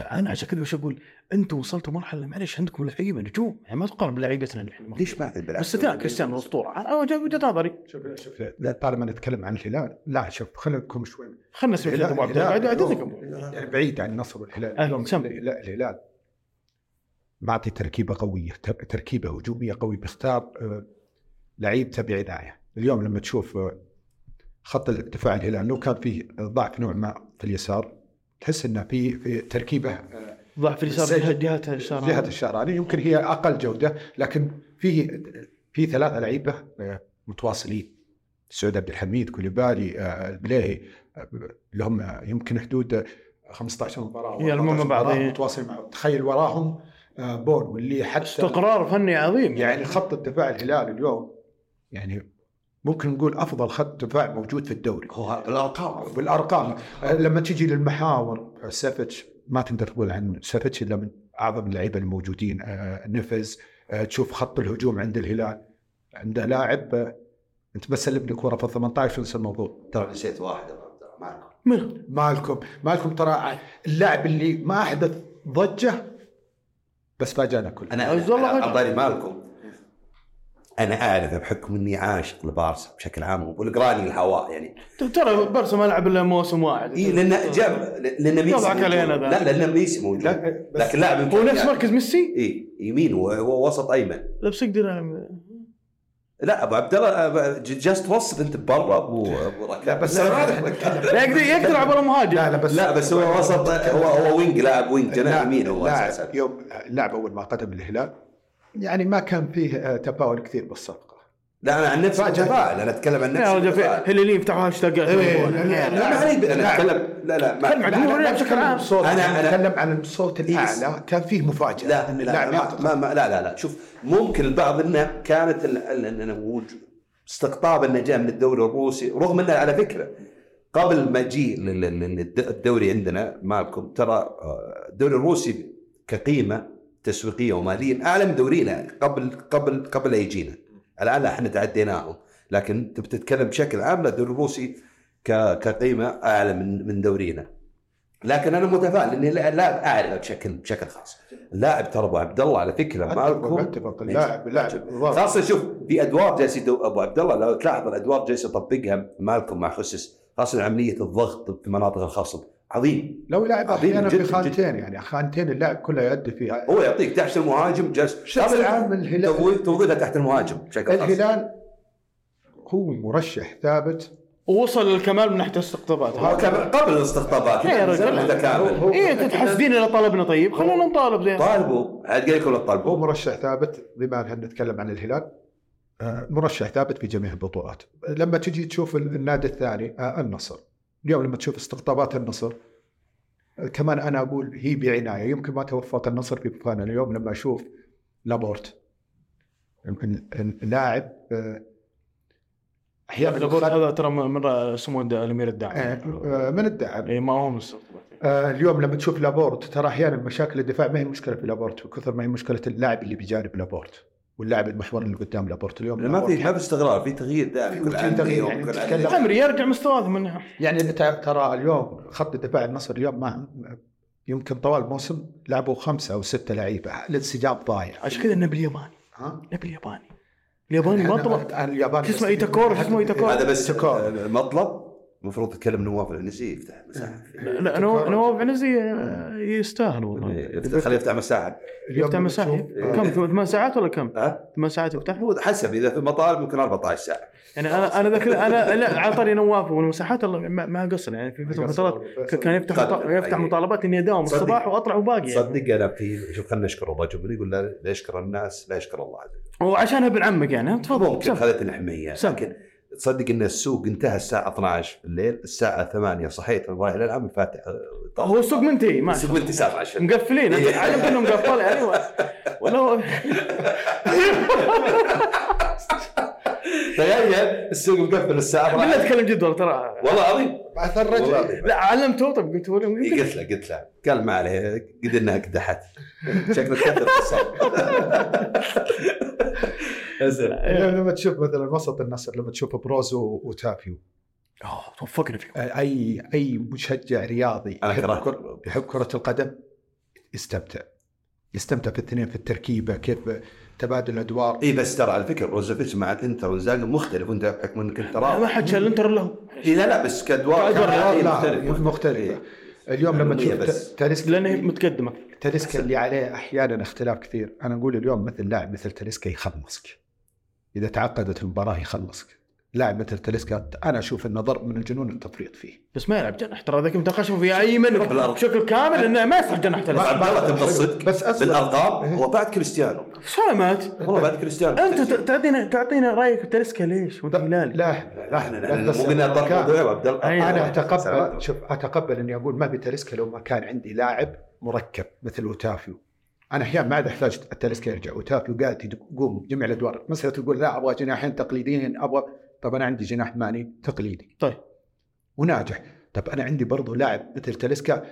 Speaker 1: انا عشان كذا وش اقول؟ انتم وصلتوا مرحله معلش عندكم لعيبه نجوم يعني ما تقارن بلعيبتنا نحن
Speaker 2: ليش ما بالعكس
Speaker 1: باستثناء كريستيانو الاسطوره انا وجه- وجهه نظري
Speaker 3: شوف شوف لا، طالما نتكلم عن الهلال لا شوف خليكم شوي
Speaker 1: خلنا نسوي كذا ابو عبد الله بعد أعتذركم.
Speaker 3: يعني بعيد عن النصر والهلال
Speaker 1: أهلاً، سم.
Speaker 3: لا الهلال معطي تركيبه قويه تر- تركيبه هجوميه قويه بيختار آه، لعيبته بعنايه اليوم لما تشوف آه، خط الدفاع الهلال لو كان فيه ضعف نوع ما في اليسار تحس انه في في تركيبه آه،
Speaker 1: ضعف اليسار
Speaker 3: السجل.
Speaker 1: جهه جهه اليسار
Speaker 3: جهه الشعراني يعني يمكن هي اقل جوده لكن في في ثلاثه لعيبه آه، متواصلين سعود عبد الحميد كوليبالي آه، البليهي آه، لهم آه، يمكن حدود آه، 15 مباراه أو
Speaker 1: يلمون
Speaker 3: 14
Speaker 1: بعض،
Speaker 3: مباراة
Speaker 1: إيه.
Speaker 3: متواصلين مع بعض. تخيل وراهم آه، بون واللي حتى
Speaker 1: استقرار فني عظيم
Speaker 3: يعني خط الدفاع الهلال اليوم يعني ممكن نقول افضل خط دفاع موجود في الدوري
Speaker 2: هو الارقام
Speaker 3: بالارقام آه، لما تجي للمحاور آه، سافيتش ما تقدر تقول عن سافيتش الا من اعظم اللعيبه الموجودين آه، نفز آه، تشوف خط الهجوم عند الهلال عنده لاعب آه، انت بس سلم لي كوره في ال 18 ونسى الموضوع
Speaker 2: ترى نسيت واحد ترى معكم
Speaker 1: من
Speaker 3: مالكم مالكم ترى اللاعب اللي ما احدث ضجه بس فاجانا كلنا
Speaker 2: انا
Speaker 1: عز الله
Speaker 2: أنا-
Speaker 1: وجهك.
Speaker 2: عبالي مالكم انا اعرف بحكم اني عاشق لبارسا بشكل عام والقراني الهواء يعني
Speaker 1: ترى بارسا ما لعب الا موسم واحد
Speaker 2: إيه لان جاب لان ميسي
Speaker 1: يضحك
Speaker 2: موجود.
Speaker 1: علينا ذا.
Speaker 2: لا لان ميسي موجود
Speaker 3: لا، بس-
Speaker 2: لكن لاعب
Speaker 1: هو نفس مركز ميسي
Speaker 2: اي إيه، يمين و- ووسط ايمن
Speaker 1: لا بس يقدر
Speaker 2: لا ابو عبد الله جالس توصف انت برا ابو ابو ركاب
Speaker 3: لا، بس
Speaker 2: أنا ما
Speaker 3: أنا-
Speaker 2: أعرف ركاب.
Speaker 1: لا يقدر يقدر عبر مهاجم
Speaker 3: لا بس
Speaker 2: لا بس هو وسط هو هو وينج لاعب وينج جناح
Speaker 3: لاعب-
Speaker 2: يمين هو
Speaker 3: لاعب
Speaker 2: اساسا
Speaker 3: يوم لاعب اول ما قدم الهلال يعني ما كان فيه آه، تفاؤل كثير بالصفقه
Speaker 2: لا انا عن نفسي
Speaker 3: فاجأة.
Speaker 2: متفائل انا اتكلم عن
Speaker 1: يا
Speaker 2: نفسي
Speaker 1: رجل في
Speaker 2: متفائل.
Speaker 1: هلاليين يفتحوا هاشتاج
Speaker 3: إيه، لا، لا،
Speaker 2: لا ما علي انا
Speaker 3: لاعب.
Speaker 2: اتكلم لا لا ما-
Speaker 1: كلمة
Speaker 3: لا، لا، لا،
Speaker 1: بشكل عام.
Speaker 3: صوت
Speaker 2: أنا-
Speaker 3: انا
Speaker 2: أنا-
Speaker 3: اتكلم عن الصوت الاعلى كان فيه مفاجاه
Speaker 2: لا
Speaker 3: إن
Speaker 2: لا
Speaker 3: اللاعب
Speaker 2: لا
Speaker 3: يعطي-
Speaker 2: نعم، ما ما لا لا لا شوف ممكن البعض انه كانت ال- ال- إن أنا وجود- استقطاب انه جاء من الدوري الروسي رغم انه على فكره قبل ما جي لل- لل- الد- الدوري عندنا مالكم ترى آه، الدوري الروسي كقيمه تسويقيه وماليه اعلى من دورينا قبل قبل قبل لا يجينا الان لا، احنا تعديناهم لكن انت بتتكلم بشكل عام لا، الدوري الروسي ك- كقيمه اعلى من من دورينا لكن انا متفائل اني لا- لا اعرفه بشكل بشكل خاص اللاعب ترى ابو عبد الله على فكره
Speaker 3: اتفق
Speaker 2: مالكم
Speaker 3: اتفق اللاعب لاعب ضغط.
Speaker 2: خاصه شوف في ادوار جالس يدو- ابو عبد الله لو تلاحظ الادوار جالس يطبقها مالكم مع خسس خاصه عمليه الضغط في مناطق الخصم عظيم
Speaker 3: لو لعب
Speaker 2: عظيم
Speaker 3: احيانا
Speaker 2: جداً
Speaker 3: في خانتين يعني خانتين اللاعب كله يؤدي فيها
Speaker 2: هو يعطيك تحت المهاجم جالس
Speaker 3: بشكل عام الهلال
Speaker 2: توظيف- توظيفها تحت المهاجم بشكل خاص
Speaker 3: الهلال هو مرشح ثابت
Speaker 1: ووصل للكمال من ناحيه الاستقطابات
Speaker 2: هو كان قبل الاستقطابات
Speaker 1: يا رجل.
Speaker 2: متكامل
Speaker 1: ايه انتم حاسدين اذا طلبنا طيب خلونا نطالب زين
Speaker 2: طالبوا عاد قال لكم لا
Speaker 3: هو
Speaker 2: تطالبوا
Speaker 3: مرشح ثابت بما ان نتكلم عن الهلال آه، مرشح ثابت في جميع البطولات لما تجي تشوف ال- النادي الثاني آه، النصر اليوم لما تشوف استقطابات النصر آه، كمان انا اقول هي بعنايه يمكن ما توفق النصر في بطولة اليوم لما اشوف لابورت يمكن لاعب آه، احيانا
Speaker 1: لابد هذا ترى من- من سمو الد- الامير الداعم
Speaker 3: آه، من الدعم
Speaker 1: اي ما هو من الاستقطابات
Speaker 3: آه، اليوم لما تشوف لابورت ترى احيانا مشاكل الدفاع ما هي مشكله في لابورت بكثر ما هي مشكله اللاعب اللي بيجانب لابورت واللاعب المحور اللي قدام لابورت اليوم
Speaker 2: ما في
Speaker 3: لابورت-
Speaker 2: ما في استقرار في تغيير دائم
Speaker 3: في-
Speaker 2: كل
Speaker 3: في
Speaker 2: عام
Speaker 3: تغيير،
Speaker 2: يوم،
Speaker 3: يعني
Speaker 2: كل عام
Speaker 3: تتكلم-
Speaker 2: يوم.
Speaker 1: عمري يرجع مستواه من
Speaker 3: يعني ت- ترى اليوم خط دفاع النصر اليوم ما يمكن طوال الموسم لعبوا خمسه او سته لعيبه الانسجام ضايع
Speaker 1: عشان كذا النبي الياباني
Speaker 3: ها يعني
Speaker 1: النبي الياباني الياباني ما
Speaker 3: أنا-
Speaker 1: طبع
Speaker 3: أنا اليابان
Speaker 1: شو اسمه
Speaker 3: بس-
Speaker 1: ايتاكور شو اسمه ايتاكور
Speaker 2: هذا بس
Speaker 3: شكرا.
Speaker 2: المطلب المفروض تتكلم نواف العنزي يفتح مساحه
Speaker 1: لا نواف نواف عنزي آه، يستاهل والله
Speaker 2: إيه، خليه يفتح مساحه
Speaker 3: اليوم
Speaker 1: يفتح مساحه
Speaker 3: بنشوف-
Speaker 1: كم ثمان ساعات ولا كم؟
Speaker 2: ها
Speaker 1: ثمان ساعات يفتح
Speaker 2: هو حسب اذا في مطالب يمكن 14 ساعه
Speaker 1: يعني انا انا ذاك انا لا على طاري نواف والمساحات الله ما ما قصر يعني في فتره فترات ك- كان يفتح
Speaker 2: صدق.
Speaker 1: مطا- يفتح
Speaker 2: أي.
Speaker 1: مطالبات اني اداوم
Speaker 2: صدق.
Speaker 1: الصباح واطلع وباقي يعني.
Speaker 2: صدق انا في شوف خلينا نشكر الله جمهور يقول لا لا يشكر الناس لا يشكر الله عز وجل
Speaker 1: وعشان ابن عمك يعني ها، تفضل
Speaker 2: ممكن
Speaker 1: سم.
Speaker 2: خذت الحميه
Speaker 1: سم.
Speaker 2: لكن تصدق ان السوق انتهى الساعه 12 بالليل الساعه 8 صحيت رايح للعمل فاتح
Speaker 1: هو السوق منتهي ما
Speaker 2: السوق انتهى الساعه 10
Speaker 1: مقفلين
Speaker 2: إيه.
Speaker 1: علمت انهم مقفل يعني و- ولو
Speaker 2: تخيل السوق مقفل الساعه
Speaker 1: بالله
Speaker 2: 12
Speaker 1: اتكلم جد والله ترى
Speaker 2: والله العظيم
Speaker 3: بعث
Speaker 2: والله
Speaker 3: الرجل
Speaker 2: العظيم
Speaker 1: لا علمته طب قلت له
Speaker 2: إيه،
Speaker 1: يمكن
Speaker 2: قلت له قلت له قال ما عليه قد انها (laughs) قدحت شكلك كثر الصوت
Speaker 3: اليوم لما تشوف مثلا وسط النصر لما تشوف بروزو وتافيو
Speaker 1: آه، وفقنا فيه
Speaker 3: اي اي مشجع رياضي
Speaker 2: انا
Speaker 3: يحب كرة-
Speaker 2: كرهت
Speaker 3: يحب كرة القدم يستمتع يستمتع في الاثنين في التركيبة كيف تبادل الادوار
Speaker 2: اي إيه، بس ترى على فكره بروزوفيتش مع الانتر وزاجن مختلف وانت بحكم انك انت
Speaker 1: ما
Speaker 2: راضي
Speaker 1: حد شال الانتر له
Speaker 2: إيه لا لا بس كادوار
Speaker 1: كأدوار
Speaker 2: كان- إيه،
Speaker 3: لا،
Speaker 2: مختلف
Speaker 3: مختلفة اليوم لما
Speaker 2: معلومية
Speaker 3: تشوف
Speaker 2: بس.
Speaker 3: تاليسكا
Speaker 1: لانه متقدمه
Speaker 3: تاليسكا اللي عليه احيانا اختلاف كثير انا اقول اليوم مثل لاعب مثل تاليسكا يخلصك اذا تعقدت المباراه يخلصك لاعب مثل تاليسكا انا اشوف انه ضرب من الجنون التفريط فيه
Speaker 1: بس ما يلعب جناح ترى ذاك متقشف في ايمن
Speaker 2: بالأرض.
Speaker 1: بشكل كامل انه ما يصلح جناح
Speaker 2: بس
Speaker 1: تلعب
Speaker 2: عبد الله تبغى الصدق
Speaker 3: بس أصلاً-
Speaker 2: بالارقام هو بعد كريستيانو
Speaker 1: سلامات
Speaker 2: والله بعد كريستيانو
Speaker 1: انت ت- تعطينا تعطينا رايك بترسكا ليش وانت هلالي
Speaker 3: لا
Speaker 2: لا احنا
Speaker 3: لا،
Speaker 2: احنا
Speaker 3: بس
Speaker 2: مو قلنا طرف
Speaker 3: كان-
Speaker 2: موضوع عبد الله
Speaker 1: أيوة.
Speaker 3: انا اتقبل شوف اتقبل اني اقول ما بتاليسكا لو ما كان عندي لاعب مركب مثل اوتافيو انا احيانا ما عاد احتاج تاليسكا يرجع اوتافيو قاعد يقوم جميع الادوار مثلا تقول لا ابغى جناحين تقليديين ابغى طب انا عندي جناح ماني تقليدي
Speaker 1: طيب.
Speaker 3: وناجح طب انا عندي برضو لاعب مثل تاليسكا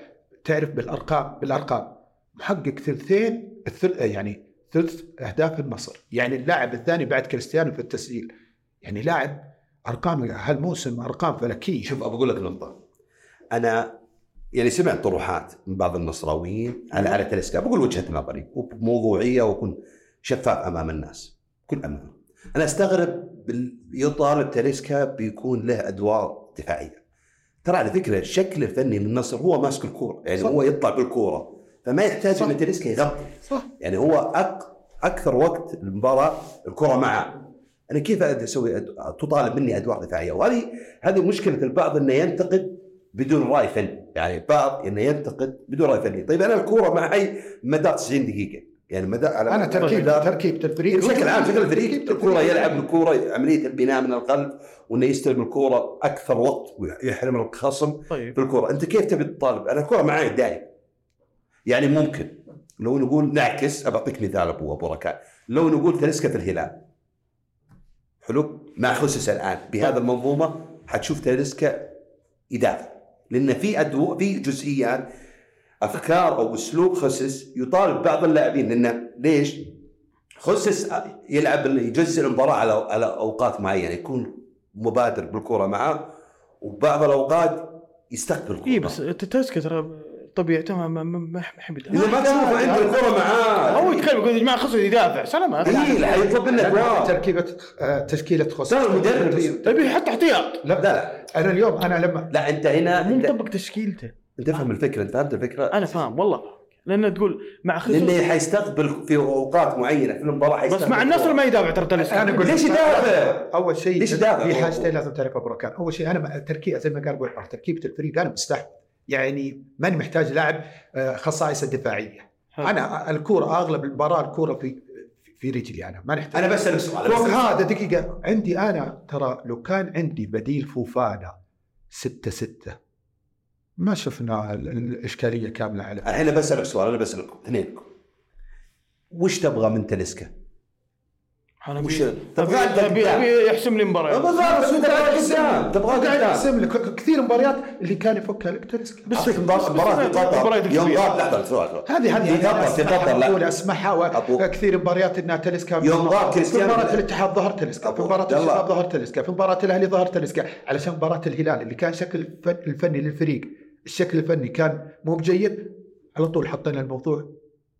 Speaker 3: تعرف بالارقام بالارقام محقق ثلثين الثل... يعني ثلث اهداف النصر يعني اللاعب الثاني بعد كريستيانو في التسجيل يعني لاعب ارقام هالموسم ارقام فلكيه
Speaker 2: شوف ابى اقول لك نقطه انا يعني سمعت طروحات من بعض النصراويين على على تلسكا بقول وجهه نظري وبموضوعيه واكون شفاف امام الناس كل امام انا استغرب بال- يطالب تلسكا بيكون له ادوار دفاعيه ترى على فكره الشكل الفني للنصر هو ماسك الكوره يعني
Speaker 3: صح.
Speaker 2: هو يطلع بالكوره فما يحتاج
Speaker 3: صح.
Speaker 2: ان تلسكا يغطي
Speaker 3: صح
Speaker 2: يعني هو أك... اكثر وقت المباراه الكره معه انا كيف اسوي أد... تطالب مني ادوار دفاعيه وهذه هذه مشكله البعض انه ينتقد بدون راي فني يعني بعض انه ينتقد بدون راي فني طيب انا الكوره معي مدى 90 دقيقه يعني مدى على
Speaker 3: انا تركيب
Speaker 2: مدار-
Speaker 3: تركيب الفريق
Speaker 2: بشكل عام شكل الفريق
Speaker 3: تركيبة
Speaker 2: الكوره يلعب الكوره عمليه البناء من القلب وانه يستلم الكوره اكثر وقت ويحرم الخصم
Speaker 1: طيب
Speaker 2: بالكرة انت كيف تبي تطالب انا الكرة معي دايم يعني ممكن لو نقول نعكس بعطيك مثال ابو ابو ركان لو نقول تلسكا في الهلال حلو مع خسس الان بهذا المنظومه حتشوف تلسكا يدافع لان في أدو... في جزئيات افكار او اسلوب خسس يطالب بعض اللاعبين لانه ليش؟ خسس يلعب يجزء المباراه على على اوقات معينه يكون مبادر بالكره معاه وبعض الاوقات يستقبل الكره
Speaker 1: اي إيه، بس تتسكى ترى طبيعته ما- ما ما- ما يحب يدافع.
Speaker 2: اذا ما تشوفه عند الكره معاه
Speaker 1: هو يتكلم يقول يا جماعه خصوصي يدافع سلامات
Speaker 2: إيه، لا يطلب منك
Speaker 3: لأن
Speaker 2: واو.
Speaker 3: تركيبه آه، تشكيله خصوص
Speaker 2: ترى المدرب إيه.
Speaker 1: ابي يحط احتياط
Speaker 2: لا
Speaker 3: لا
Speaker 2: لا
Speaker 3: انا اليوم انا لما
Speaker 2: لا انت هنا
Speaker 1: مو
Speaker 2: انت
Speaker 1: مطبق تشكيلته
Speaker 2: انت فهم الفكره انت فهمت الفكره؟
Speaker 1: انا فاهم والله لانه تقول مع خصوصي
Speaker 2: لانه حيستقبل في اوقات معينه في المباراه حيستقبل
Speaker 1: بس مع النصر ما يدافع ترى تلسكا
Speaker 3: انا اقول
Speaker 2: ليش يدافع؟
Speaker 3: اول شيء
Speaker 2: ليش يدافع؟
Speaker 3: في حاجتين لازم تعرفها ابو ركان اول شيء انا مع التركيبه زي ما قال ابو عمر، تركيبه الفريق انا مستحب يعني ماني محتاج لاعب آه، خصائص الدفاعيه
Speaker 2: آه.
Speaker 1: حلو.
Speaker 3: انا اغلب اغلب المباراه الكوره في في رجلي انا ما نحتاج
Speaker 2: انا بسالك سؤال
Speaker 3: فوق
Speaker 2: بسألك.
Speaker 3: هذا دقيقة عندي أنا ترى لو كان عندي بديل فوفانا ستة ستة ما شفنا ال- الإشكالية كاملة على
Speaker 2: الحين بسالك سؤال انا بسالكم اثنينكم وش تبغى من تلسكا؟
Speaker 1: أنا
Speaker 2: وش-
Speaker 1: أبي-
Speaker 2: طب قاعد
Speaker 1: أبي- أبي-
Speaker 2: قدام.
Speaker 1: أبي يحسم لي مباراه
Speaker 2: بالضبط انت قدام تبغى
Speaker 3: قاعد
Speaker 2: قدام
Speaker 3: أقسم لك كثير مباريات اللي كان يفكها لك تنسك
Speaker 1: بس-
Speaker 2: مباراة مباراة في
Speaker 1: مباراة
Speaker 2: قطر يوم
Speaker 1: الكبير.
Speaker 2: غاب لحظة سؤال سؤال.
Speaker 3: هذه هذه
Speaker 2: في قطر في قطر
Speaker 3: اقول
Speaker 2: لا
Speaker 3: اسمعها
Speaker 2: أبوك.
Speaker 3: وكثير مباريات انها تلسكا
Speaker 2: يوم ضاع
Speaker 3: في
Speaker 2: كريستيانو
Speaker 3: مباراة الاتحاد ظهر تلسكا في
Speaker 2: أبوك.
Speaker 3: مباراة
Speaker 2: يلا.
Speaker 3: الشباب ظهر تلسكا في مباراة الاهلي ظهر تلسكا علشان مباراة الهلال اللي كان شكل الفن- الفني للفريق الشكل الفني كان مو بجيد على طول حطينا الموضوع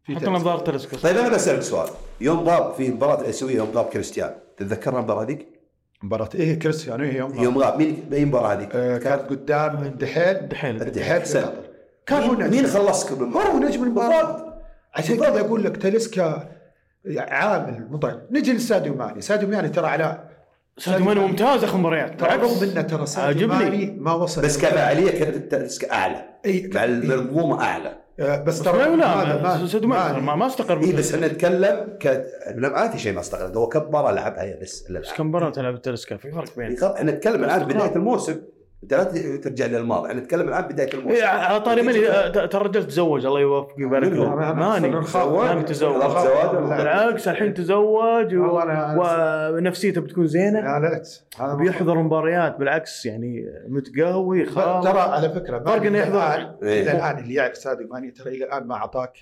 Speaker 3: في
Speaker 1: حطنا
Speaker 3: تلسكا.
Speaker 1: بظهر تلسكا
Speaker 2: طيب انا بسالك سؤال يوم غاب في مباراة الاسيوية يوم غاب كريستيانو تتذكرها المباراة ذيك؟
Speaker 3: مباراه ايه كريستيانو هي يوم,
Speaker 2: يوم غاب مين اي مباراه هذيك؟
Speaker 3: آه كانت قدام الدحيل
Speaker 1: دحيل
Speaker 2: الدحيل سلم
Speaker 3: كان هو
Speaker 2: مين- مين
Speaker 3: نجم
Speaker 2: خلصكم
Speaker 3: هو
Speaker 2: المباراه؟
Speaker 3: نجم المباراه عشان كذا اقول لك تاليسكا عامل مطعم نجي لساديو ماني ساديو ماني ترى على
Speaker 1: ساديو ماني ممتاز اخر مباريات
Speaker 3: ترى رغم انه ترى ساديو
Speaker 1: عجبني.
Speaker 3: ماني ما وصل
Speaker 2: بس كفاعليه كانت التاسك اعلى
Speaker 3: اي إي.
Speaker 2: المنظومه اعلى
Speaker 3: آه، بس
Speaker 1: لا
Speaker 3: ترى ماني-
Speaker 1: لا ساديو ماني
Speaker 3: ماني.
Speaker 1: ما- ما استقر
Speaker 2: اي إيه، بس احنا نتكلم ك... لم اتي شيء ما استغرب هو كم مباراه لعبها هي بس
Speaker 1: بس
Speaker 2: الآن.
Speaker 1: كم مباراه تلعب التلسكا في فرق بين
Speaker 2: يعني خب- احنا نتكلم الان بدايه الموسم انت لا ت- ترجع للماضي احنا نتكلم الان بدايه
Speaker 1: إيه،
Speaker 2: الموسم
Speaker 1: على طاري ماني آه، ترى الرجال تزوج الله يوفقه ويبارك
Speaker 2: منو؟
Speaker 1: له
Speaker 3: أنا- أنا
Speaker 1: ماني
Speaker 3: أصلاً خاوي.
Speaker 1: ماني تزوج
Speaker 2: أنا- زواج ولا-
Speaker 1: بالعكس الحين تزوج و-
Speaker 3: والله أنا-
Speaker 1: ونفسيته بتكون زينه
Speaker 3: لا لا هذا ما-
Speaker 1: بيحضر مباريات بالعكس يعني متقوي خلاص
Speaker 3: ترى على فكره
Speaker 1: فرق
Speaker 3: ماني
Speaker 1: إنه
Speaker 3: إلى
Speaker 1: يحضر.
Speaker 3: الآن-
Speaker 2: إيه.
Speaker 3: الى الان اللي يعرف ساديو ماني ترى الى الان ما اعطاك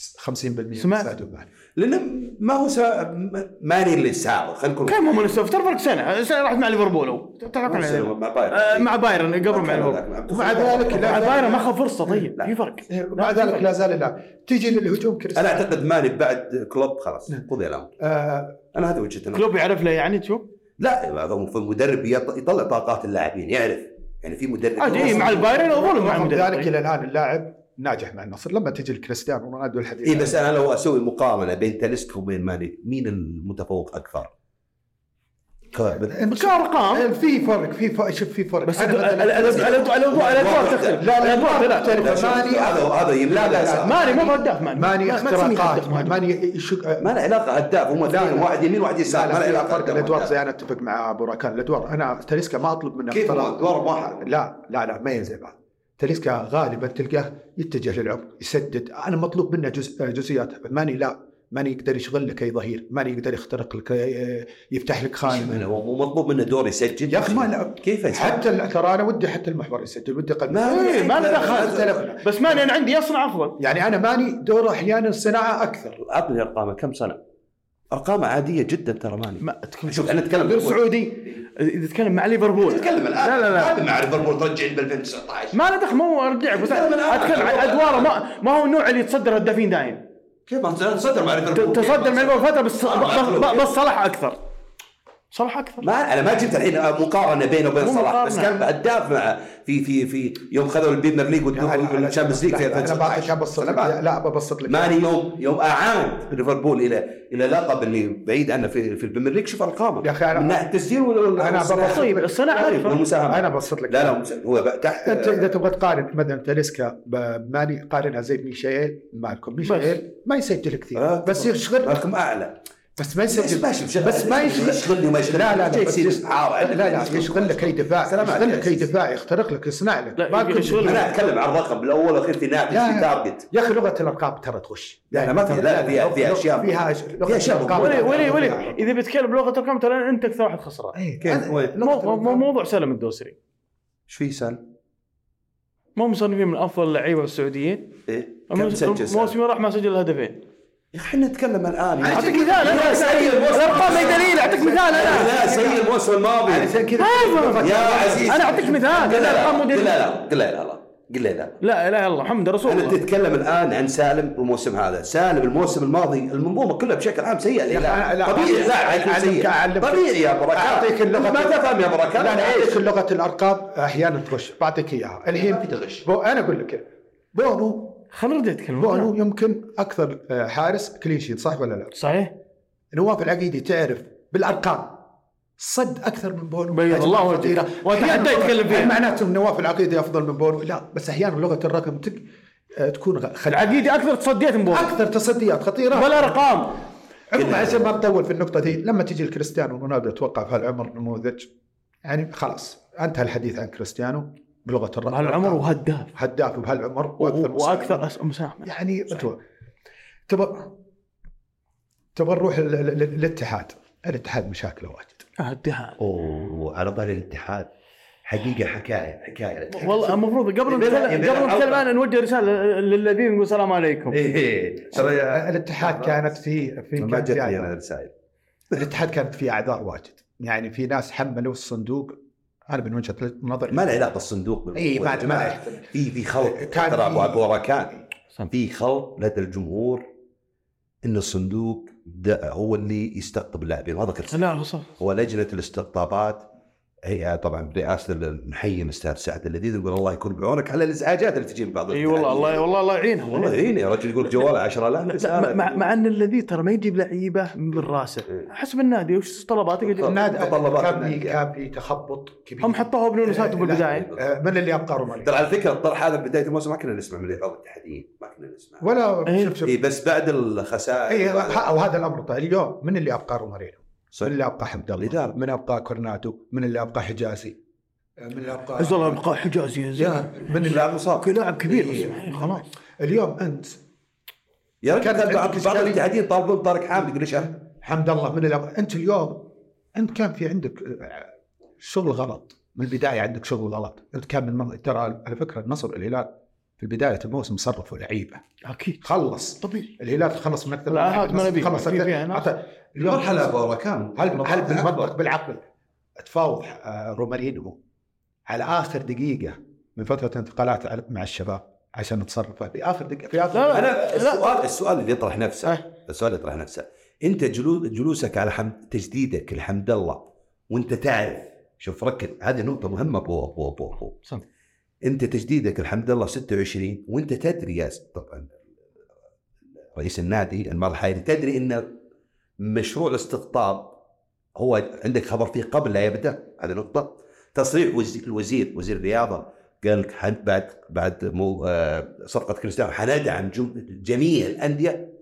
Speaker 3: 50%
Speaker 1: سمعت.
Speaker 3: من ساديو ماني
Speaker 2: لان ما هو سا... م- ماني اللي ساعه خلينا نكون
Speaker 1: كم هم السوفت ترى فرق سنه سنه راحت مع ليفربول هو تتفق
Speaker 2: مو سنة
Speaker 1: على
Speaker 2: مع بايرن.
Speaker 1: آه، مع بايرن قبل
Speaker 2: ما
Speaker 1: مع
Speaker 2: كان
Speaker 1: ليفربول
Speaker 2: ذاك.
Speaker 3: ومع ذلك
Speaker 1: مع
Speaker 3: لا
Speaker 1: بايرن ما اخذ فرصه طيب
Speaker 2: لا.
Speaker 1: في فرق
Speaker 3: مع ذلك لا زال لا تيجي للهجوم
Speaker 2: انا
Speaker 3: كريستيانو
Speaker 2: اعتقد ماني بعد كلوب خلاص قضي الامر
Speaker 3: آه
Speaker 2: انا هذه وجهه نظري
Speaker 1: نعم. كلوب يعرف له يعني تشوف
Speaker 2: لا هذا المفروض مدرب يط- يطلع طاقات اللاعبين يعرف يعني في مدرب
Speaker 1: عادي إيه، مع البايرن اظن مع
Speaker 3: رغم
Speaker 1: المدرب.
Speaker 3: ذلك الى الان اللاعب ناجح مع النصر لما تجي لكريستيانو رونالدو الحديث
Speaker 2: اي إيه، بس انا لو اسوي مقارنه بين تاليسكا وبين ماني مين المتفوق اكثر؟ ك- بال-
Speaker 1: كارقام
Speaker 3: في فرق في فرق شوف في فرق
Speaker 1: بس
Speaker 3: أنا
Speaker 1: الأد-
Speaker 3: مثلاً-
Speaker 1: الأد- الأد- الادوار الادوار تختلف
Speaker 3: لا لا
Speaker 1: الادوار
Speaker 3: لا
Speaker 1: ثلاث
Speaker 2: لا،
Speaker 3: مختلف
Speaker 2: شوف،
Speaker 3: ماني
Speaker 2: هذا هذا يمكن
Speaker 3: لا، لا، لا.
Speaker 1: ماني مو هداف ماني
Speaker 3: ماني
Speaker 1: ما- ما تسميه
Speaker 3: اختراقات
Speaker 1: هداف ماني.
Speaker 3: ماني شق-
Speaker 2: ما له علاقه هداف هم اثنين واحد يمين واحد يسار ما له
Speaker 3: لا لا
Speaker 2: علاقه
Speaker 3: فرق
Speaker 2: هداف
Speaker 3: الادوار
Speaker 2: وهداف.
Speaker 3: زي انا اتفق مع ابو راكان الادوار انا تاليسكا ما اطلب منه
Speaker 2: كيف
Speaker 3: اختراق.
Speaker 2: هو أدوار واحد؟
Speaker 3: لا لا لا ما ينزل بعض تاليسكا غالبا تلقاه يتجه للعمق يسدد انا مطلوب منه جزء جزئيات ماني لا ماني يقدر يشغل لك اي ظهير ماني يقدر يخترق لك أي- يفتح لك
Speaker 1: طيب.
Speaker 2: شوف أنا
Speaker 3: خانه
Speaker 2: هو مو مطلوب منه دور يسجل
Speaker 3: يا اخي ما لا
Speaker 2: كيف يسجل؟
Speaker 3: حتى ال- ترى انا ودي حتى المحور يسجل ودي قلب
Speaker 2: ما-
Speaker 1: إيه، ما له دخل.
Speaker 3: اختلفنا.
Speaker 1: بس ماني انا عندي يصنع افضل
Speaker 3: يعني انا ماني دوره احيانا صناعه اكثر
Speaker 2: اعطني ارقامه كم سنه؟ ارقامه عاديه جدا ترى ماني
Speaker 1: ما تكون
Speaker 2: شوف انا اتكلم
Speaker 1: غير سعودي اذا تتكلم مع ليفربول
Speaker 2: تتكلم الان
Speaker 1: لا لا لا
Speaker 2: هذا مع ليفربول ترجع ب 2019
Speaker 1: ما له دخل ما هو ارجعك بس
Speaker 2: لا، لا،
Speaker 1: اتكلم عن
Speaker 2: لا.
Speaker 1: ادواره ما, ما هو النوع اللي يتصدر هدافين دايم
Speaker 2: كيف ما تصدر مع
Speaker 1: ت-
Speaker 2: ليفربول
Speaker 1: تصدر مع ليفربول فتره بس
Speaker 2: ما
Speaker 1: بس-
Speaker 2: أعرف.
Speaker 1: بس بس صلاح اكثر صلاح اكثر
Speaker 2: ما انا ما جبت الحين مقارنه بينه وبين
Speaker 1: مو
Speaker 2: صلاح
Speaker 1: مقارنة.
Speaker 2: بس كان هداف مع في في في يوم خذوا البريمير ليج والشامبيونز ليج في
Speaker 3: يعني لا، انا بعطيك
Speaker 2: 2019
Speaker 3: ابسط
Speaker 2: أنا
Speaker 3: لك
Speaker 2: بعد.
Speaker 3: لا ببسط لك
Speaker 2: ماني يوم يوم اعاند ليفربول الى الى لقب اللي بعيد عنه في في البريمير ليج شوف ارقامه
Speaker 3: يا أخي أنا-
Speaker 2: من ناحيه التسجيل ولا
Speaker 3: أنا ببسط
Speaker 1: طيب الصناعه اكثر
Speaker 2: والمساهمه
Speaker 3: انا ببسط لك
Speaker 2: لا لا مس- هو بقى تحت
Speaker 3: انت اذا تبغى تقارن مثلا تاليسكا بماني قارنها زي ميشيل معكم ميشيل ما يسجل كثير
Speaker 2: آه،
Speaker 3: بس يشغل
Speaker 2: رقم اعلى
Speaker 3: بس ما
Speaker 2: بس
Speaker 3: يسجل
Speaker 2: ما يشغل
Speaker 3: بس ما يشغل-
Speaker 2: يشغلني وما يشغلني
Speaker 3: لا لا لا
Speaker 2: شيء
Speaker 3: بس
Speaker 2: يصير
Speaker 3: يس-
Speaker 2: عار
Speaker 3: لا
Speaker 2: عندك
Speaker 3: لا
Speaker 2: مشكلة.
Speaker 3: يشغل لك اي دفاع
Speaker 2: سلام
Speaker 3: يشغل
Speaker 2: عليك.
Speaker 3: لك اي دفاع يخترق لك يصنع لك
Speaker 1: لا،
Speaker 3: ما
Speaker 1: يجي
Speaker 3: كل-
Speaker 1: يشغل-
Speaker 2: انا اتكلم عن الرقم الاول والاخير في
Speaker 3: لا،
Speaker 2: ناتج في
Speaker 3: لا.
Speaker 2: تارجت
Speaker 3: يا اخي لغه الارقام ترى تغش
Speaker 2: لا، لا، ما في- لا، لا، فيها- فيها أشياء.
Speaker 3: فيها
Speaker 2: فيها أشياء
Speaker 1: ولي ولي ولي اذا بيتكلم بلغه الارقام ترى انت اكثر واحد خسران
Speaker 2: إيه، كيف؟ وين؟
Speaker 1: مو- مو- مو- موضوع سلم الدوسري
Speaker 2: ايش في سال؟
Speaker 1: ما مصنفين من افضل اللعيبه السعوديين
Speaker 2: ايه كم سجل سال؟
Speaker 1: الموسم اللي راح ما سجل هدفين
Speaker 2: يا اخي احنا نتكلم الان يعني.
Speaker 1: اعطيك مثال انا
Speaker 2: يا سيد الموسم
Speaker 1: الارقام ما هي دليل اعطيك مثال انا
Speaker 2: لا سيء الموسم الماضي
Speaker 3: عشان كذا
Speaker 2: يا عزيز
Speaker 1: انا اعطيك مثال
Speaker 2: قل لا
Speaker 1: الارقام
Speaker 2: لا
Speaker 1: مو
Speaker 2: قل لا
Speaker 1: دليل
Speaker 2: لا قل لا لا قل لا لا
Speaker 1: لا اله الا الله محمد رسول
Speaker 2: انا
Speaker 1: الله
Speaker 2: تتكلم الان عن سالم الموسم هذا سالم الموسم الماضي المنظومه كلها بشكل عام سيئه
Speaker 3: لا،
Speaker 2: الهلال
Speaker 3: لا،
Speaker 2: طبيعي
Speaker 3: أعلم-
Speaker 2: لا يكون
Speaker 3: أعلم-
Speaker 2: سيء
Speaker 3: أعلم-
Speaker 2: طبيعي يا بركات
Speaker 3: أعطيك اللغة.
Speaker 2: ما تفهم يا بركات
Speaker 3: لا انا
Speaker 2: ايش
Speaker 3: اعطيك لغه الارقام احيانا تغش بعطيك اياها الحين في تغش بو انا اقول لك بونو
Speaker 1: خلينا نرجع نتكلم
Speaker 3: بونو يمكن اكثر آه، حارس كلين شيت صح ولا لا؟
Speaker 1: صحيح
Speaker 3: نواف العقيدي تعرف بالارقام صد اكثر من بونو
Speaker 1: بيض الله وجهك.
Speaker 3: خطيرة.
Speaker 1: وأتحدى
Speaker 3: أحياناً
Speaker 1: يتكلم فيها.
Speaker 3: هل معناته إن نواف العقيدي افضل من بونو لا بس احيانا لغه الرقم تك... آه، تكون غ- خل...
Speaker 1: العقيدي اكثر تصديات من بونو
Speaker 3: اكثر تصديات خطيره
Speaker 1: ولا ارقام
Speaker 3: عموما عشان ما نطول في النقطه دي لما تجي لكريستيانو رونالدو اتوقع في هالعمر نموذج يعني خلاص انتهى الحديث عن كريستيانو بلغه الرقم
Speaker 1: بهالعمر وهداف
Speaker 3: هداف بهالعمر
Speaker 1: واكثر
Speaker 3: مساهمة.
Speaker 1: وأكثر أس- مساهمه
Speaker 3: يعني انتوا تبغى تبغى نروح لل- لل- للاتحاد الاتحاد مشاكله واجد
Speaker 1: هداف
Speaker 2: اوه على ظهر الاتحاد حقيقه حكايه حكايه
Speaker 1: والله المفروض قبل
Speaker 2: يبيلها-
Speaker 1: نتكلم-
Speaker 2: يبيلها
Speaker 1: قبل نتكلم
Speaker 2: عودة.
Speaker 1: انا نوجه رساله للذين نقول السلام عليكم
Speaker 2: ايه ترى يا-
Speaker 3: الاتحاد كانت في في
Speaker 2: ما
Speaker 3: كانت في
Speaker 2: جتني انا
Speaker 3: اعذار
Speaker 2: رسائل
Speaker 3: الاتحاد كانت في اعذار واجد يعني في ناس حملوا الصندوق انا من وجهه نظري
Speaker 2: ما له علاقه الصندوق
Speaker 3: اي ما ما له علاقة.
Speaker 2: في في خلط
Speaker 3: كان
Speaker 2: ترى
Speaker 3: في-
Speaker 2: ابو ابو ركان في خلط لدى الجمهور ان الصندوق ده هو اللي يستقطب اللاعبين وهذا كل
Speaker 1: لا صح
Speaker 2: هو لجنه الاستقطابات هي طبعا برئاسه ال- نحيي الاستاذ سعد اللذيذ يقول الله يكون بعونك على الازعاجات اللي تجي من بعض
Speaker 1: اي والله الله يعني والله الله يعينهم
Speaker 2: والله يعين يا رجل يقول جواله 10000
Speaker 1: لا مع- مع, مع ان الذي ترى ما يجيب لعيبه من راسه
Speaker 2: إيه.
Speaker 1: حسب النادي وش طلباتك يجيب-
Speaker 2: بالضبط.
Speaker 3: النادي
Speaker 2: تطلبات
Speaker 3: كان
Speaker 2: النادي.
Speaker 3: في- كان في تخبط كبير
Speaker 1: هم حطوها بلونساتهم
Speaker 3: طيب. لا.
Speaker 1: بالبدايه
Speaker 3: آه، من اللي ابقروا مالي
Speaker 2: يعني- ترى على فكره الطرح هذا بدايه الموسم ما كنا نسمع من بعض الاتحاديين ما كنا نسمع
Speaker 3: ولا
Speaker 1: إيه.
Speaker 3: شوف شوف
Speaker 2: اي بس بعد الخسائر
Speaker 3: اي
Speaker 2: بعد-
Speaker 3: ه- وهذا الامر طيب اليوم من اللي ابقى رومارينو؟
Speaker 2: صح.
Speaker 3: من اللي ابقى حمد الله؟
Speaker 2: الإدارة.
Speaker 3: من ابقى كورناتو؟ من اللي ابقى حجازي؟ آه، من اللي ابقى
Speaker 1: عز الله يبقى حجازي يا
Speaker 3: يا
Speaker 1: زلمه
Speaker 3: من اللي
Speaker 2: لاعب مصاب
Speaker 1: لاعب كبير بس
Speaker 3: إيه،
Speaker 1: يعني
Speaker 3: خلاص اليوم انت
Speaker 2: يا رجل
Speaker 3: كانت
Speaker 2: بعض
Speaker 3: عندك
Speaker 2: بعض
Speaker 3: إشكالية.
Speaker 2: الاتحاديين طالبون طارق حامد يقول ايش أنا؟
Speaker 3: حمد الله من اللي أبقى. انت اليوم انت كان في عندك آه، شغل غلط من البدايه عندك شغل غلط انت كان من مر- ترى على فكره النصر والهلال في بدايه الموسم صرفوا لعيبه
Speaker 1: اكيد
Speaker 3: خلص
Speaker 1: طبيعي
Speaker 3: الهلال خلص من
Speaker 1: لا، هات ما نبي.
Speaker 3: خلص
Speaker 1: في- فيها ناس.
Speaker 3: عطى- اليوم
Speaker 2: المرحله فورا كان
Speaker 3: هل هل بالمنطق بالعقل تفاوض آه، رومارينو على اخر دقيقه من فتره انتقالات على- مع الشباب عشان تصرفه في اخر دقيقه في اخر
Speaker 1: لا، لا.
Speaker 2: انا السؤال السؤال اللي يطرح نفسه
Speaker 3: أه.
Speaker 2: السؤال اللي يطرح نفسه انت جلو- جلوسك على حمد تجديدك لحمد الله وانت تعرف شوف ركز هذه نقطه مهمه بو بو بو بو
Speaker 1: صح.
Speaker 2: انت تجديدك الحمد لله 26 وانت تدري يا س- طبعا رئيس النادي انمار الحايري تدري ان مشروع الاستقطاب هو عندك خبر فيه قبل لا يبدا هذه نقطه تصريح وزي- الوزير وزير الرياضه قال لك حن- بعد بعد مو آه، صفقه كريستيانو حندعم جم- جميع الانديه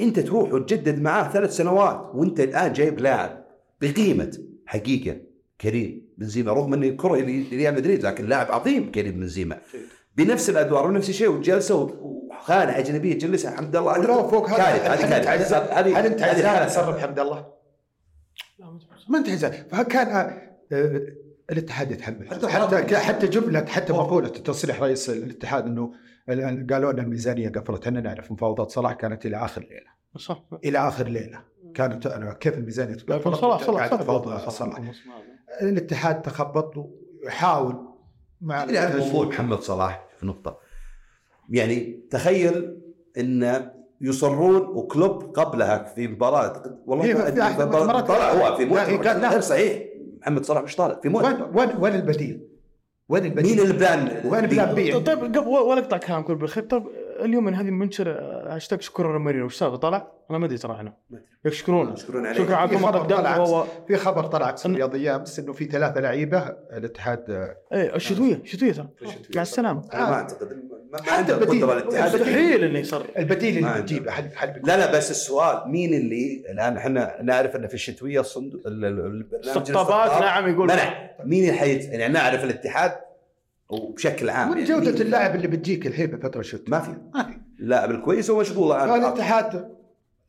Speaker 2: انت تروح وتجدد معاه ثلاث سنوات وانت الان جايب لاعب بقيمه حقيقه كريم بنزيما رغم انه كره ريال مدريد لكن لاعب عظيم كريم بنزيما بنفس الادوار ونفس الشيء وجلسه وخانه اجنبيه تجلسها حمد الله
Speaker 3: ولو فوق هذا
Speaker 2: كارثة، هذه
Speaker 3: هل انت
Speaker 2: كارثة.
Speaker 3: عزيز-
Speaker 2: هذه-
Speaker 3: هل انت
Speaker 2: هذه
Speaker 3: عزيز
Speaker 2: كارثة.
Speaker 3: تصرف حمد الله؟ ما انت عزيز فكان آه، آه، الاتحاد يتحمل
Speaker 2: حتى-
Speaker 3: حتى حتى, حتى جمله حتى مقوله تصريح رئيس الاتحاد انه الآن قالوا ان الميزانيه قفلت احنا نعرف مفاوضات صلاح كانت الى اخر ليله
Speaker 1: صح
Speaker 3: الى اخر ليله كانت أنا كيف الميزانيه
Speaker 1: لكن
Speaker 3: تقفل؟
Speaker 1: صلاح صلاح
Speaker 3: قاعد تفاوض
Speaker 1: صلاح
Speaker 3: صلاح
Speaker 1: صلاح
Speaker 3: الاتحاد تخبط ويحاول مع
Speaker 2: يعني على موضوع محمد صلاح في نقطة يعني تخيل ان يصرون وكلوب قبلها في مباراة والله
Speaker 3: إيه،
Speaker 2: ما
Speaker 3: في
Speaker 2: أدري،
Speaker 3: أحد
Speaker 2: في مباراة
Speaker 3: المباريات-
Speaker 2: طلع هو في
Speaker 3: لا،
Speaker 2: مؤتمر
Speaker 3: قال لا.
Speaker 2: غير صحيح محمد صلاح مش طالع في
Speaker 3: وين
Speaker 2: مؤتمر
Speaker 3: وين وين البديل؟ وين البديل؟
Speaker 2: مين البلان
Speaker 3: وين البلان بي؟
Speaker 1: طيب قبل ولا اقطع كلام كل بالخير طيب اليوم من هذه منشر آه، هاشتاج شكرا رومارينو وش صار طلع؟ انا ما ادري ترى انا
Speaker 2: ما أدري.
Speaker 1: يشكرون
Speaker 2: يشكرون عليك
Speaker 1: شكرا على كل ما
Speaker 3: يعني خبر طلع.
Speaker 1: قدمت وهو
Speaker 3: في خبر طلع في
Speaker 1: أنا-
Speaker 3: الرياضيه امس انه في ثلاثه لعيبه الاتحاد آه،
Speaker 1: ايه الشتويه الشتويه ترى
Speaker 2: الشتوية.
Speaker 1: مع السلامه
Speaker 2: أنا ما اعتقد ما- ما
Speaker 3: حتى
Speaker 2: عنده
Speaker 3: البديل.
Speaker 2: القدرة الاتحاد
Speaker 1: مستحيل انه يصير
Speaker 3: البديل
Speaker 2: ما
Speaker 3: اللي
Speaker 2: عنده.
Speaker 3: بتجيبه حل حل
Speaker 2: لا لا بس السؤال مين اللي الان احنا نعرف انه في الشتويه الصندوق ال- ال- البرنامج
Speaker 1: استقطابات
Speaker 2: الاستقطاب
Speaker 1: نعم يقول
Speaker 2: منع مين اللي حيت يعني نعرف الاتحاد وبشكل عام
Speaker 3: وين
Speaker 2: يعني
Speaker 3: جوده
Speaker 2: مين؟
Speaker 3: اللاعب اللي بتجيك الحين بفتره شوت؟
Speaker 2: ما في.
Speaker 3: ما في
Speaker 2: اللاعب الكويس هو مشغول الان
Speaker 3: فالاتحاد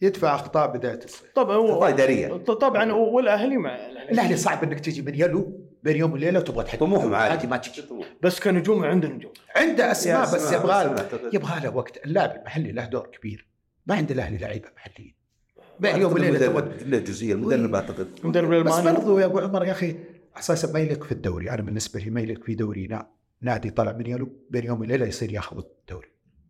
Speaker 3: يدفع اخطاء بدايه الصيف
Speaker 1: طبعا
Speaker 2: خطا
Speaker 1: هو
Speaker 2: اداريه
Speaker 1: طبعا والاهلي مع يعني
Speaker 3: الاهلي صعب انك تجي من يلو بين يوم وليله وتبغى تحقق
Speaker 2: طموحهم عالي.
Speaker 3: هذه ما تجي
Speaker 1: بس كنجوم عنده نجوم
Speaker 3: عنده اسماء
Speaker 2: يا
Speaker 3: بس
Speaker 2: أسماء،
Speaker 3: يبغى له
Speaker 2: أسماء.
Speaker 3: يبغى له وقت اللاعب المحلي له دور كبير ما عند الاهلي لعيبه محليين بين
Speaker 2: أعتقد
Speaker 3: يوم وليله
Speaker 2: المدرب-
Speaker 3: تبغى-
Speaker 2: لا جزئيا
Speaker 3: إيه.
Speaker 2: المدرب اعتقد
Speaker 1: المدرب
Speaker 3: بس
Speaker 1: الالماني
Speaker 3: برضو يا ابو عمر يا اخي اساسا ما يليق في الدوري انا بالنسبه لي ما يليق في دورينا نادي طلع من يلو بين يوم وليله يصير ياخذ الدوري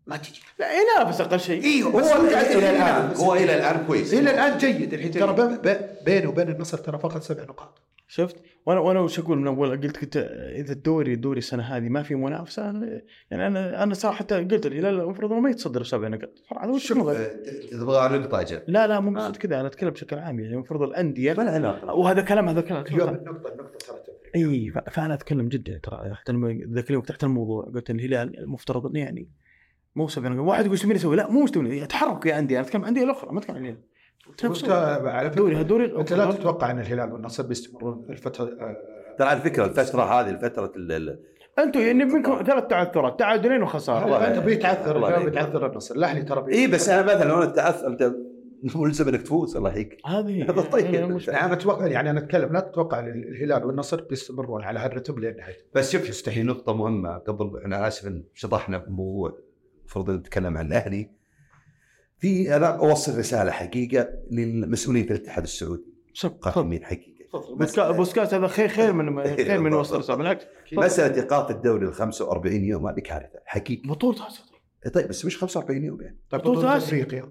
Speaker 3: ما تجي
Speaker 1: لا ينافس اقل شيء
Speaker 3: ايوه
Speaker 2: هو
Speaker 3: بس قاعد
Speaker 2: الى
Speaker 3: يلعب.
Speaker 2: الان
Speaker 3: بس
Speaker 2: هو الى الان كويس
Speaker 3: الى الان جيد الحين ترى ب- ب- بينه وبين النصر ترى فقط سبع نقاط
Speaker 1: شفت وانا وانا وش اقول من اول قلت كنت اذا الدوري الدوري السنه هذه ما في منافسه أنا- يعني انا انا صراحه حتى قلت الهلال المفروض إنه ما يتصدر بسبع نقاط صراحه هو شنو غير؟
Speaker 2: أه، تبغى على نقطه اجل
Speaker 1: لا لا مو بس كذا انا اتكلم بشكل عام يعني المفروض الانديه
Speaker 2: ما له علاقه
Speaker 1: وهذا كلام هذا كلام
Speaker 3: اليوم النقطه النقطه ترى تفرق
Speaker 1: اي إيه، ف- فانا اتكلم جدا ترى حتى لما ذاك اليوم فتحت الموضوع قلت الهلال المفترض انه يعني مو سبع نقاط واحد يقول ايش تبيني اسوي؟ لا مو ايش تبيني تحرك يا انديه انا اتكلم عن الانديه الاخرى ما اتكلم عن الهلال
Speaker 3: وأنت على فكره
Speaker 1: دوري هالدوري
Speaker 3: انت لا تتوقع ان الهلال والنصر بيستمرون الفتره آه،
Speaker 2: ترى على فكره الفتره هذه الفتره ال- ال-
Speaker 1: انتم يعني منكم ثلاث تعثرات تعادلين وخساره
Speaker 2: آه، والله. يعني
Speaker 3: انت بيتعثر
Speaker 2: والله
Speaker 3: الهلال
Speaker 2: عليك.
Speaker 3: بيتعثر النصر الاهلي ترى بي-
Speaker 2: اي بس انا مثلا لو انا تعثر انت ملزم انك تفوز الله يحييك
Speaker 1: هذه
Speaker 2: هذا طيب.
Speaker 1: هي المشكلة.
Speaker 3: انا اتوقع يعني انا اتكلم لا تتوقع ان الهلال والنصر بيستمرون على هالرتم للنهايه
Speaker 2: بس شوف يستحي نقطة مهمة قبل انا اسف ان شطحنا بموضوع المفروض نتكلم عن الاهلي. في انا اوصل رسالة حقيقة للمسؤولين في الاتحاد السعودي
Speaker 1: تفضل.
Speaker 2: قائمين حقيقة.
Speaker 1: بوسكا- بوسكاس هذا خير خير من خير من وسط الصف. بالعكس
Speaker 2: مسألة ايقاف الدوري ل 45 يوم هذه كارثة حقيقة.
Speaker 1: بطولة آسيا.
Speaker 2: طيب بس مش 45 يوم يعني.
Speaker 3: طيب
Speaker 1: بطولة
Speaker 3: بطولة
Speaker 1: آسيا.
Speaker 3: افريقيا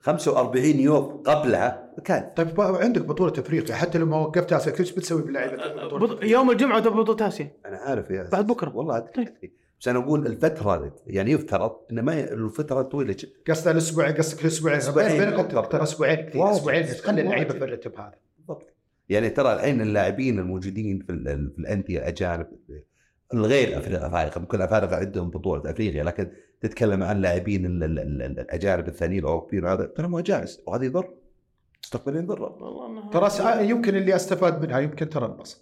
Speaker 2: 45 يوم قبلها كان
Speaker 3: طيب بقى عندك بطوله افريقيا حتى لو ما وقفتها أسيا، ايش بتسوي باللعيبه بطولة
Speaker 1: آه، بط... يوم الجمعه تبغى بطوله اسيا
Speaker 2: انا عارف يا
Speaker 1: بعد بكرة.
Speaker 2: والله
Speaker 1: طيب.
Speaker 2: بس انا اقول الفتره يعني يفترض ان ما ي- الفتره طويله جدا
Speaker 3: قصدك الاسبوع قصدك الاسبوعين
Speaker 2: أسبوعين.
Speaker 3: بينك وبينك ترى اسبوعين كثير
Speaker 2: واجد.
Speaker 3: اسبوعين تخلي اللعيبه في
Speaker 2: واجد.
Speaker 3: الرتب هذا
Speaker 2: بالضبط يعني ترى الحين اللاعبين الموجودين في, ال- في الانديه الاجانب
Speaker 1: إيه.
Speaker 2: الغير أفري- افارقه ممكن الافارقه عندهم بطوله افريقيا لكن تتكلم عن لاعبين ال- ال- ال- ال- الاجانب الثانيين الاوروبيين وهذا ترى ما هو جاهز وهذا يضر مستقبليا يضر
Speaker 1: والله انها
Speaker 3: ترى س- يمكن اللي استفاد منها يمكن ترى النصر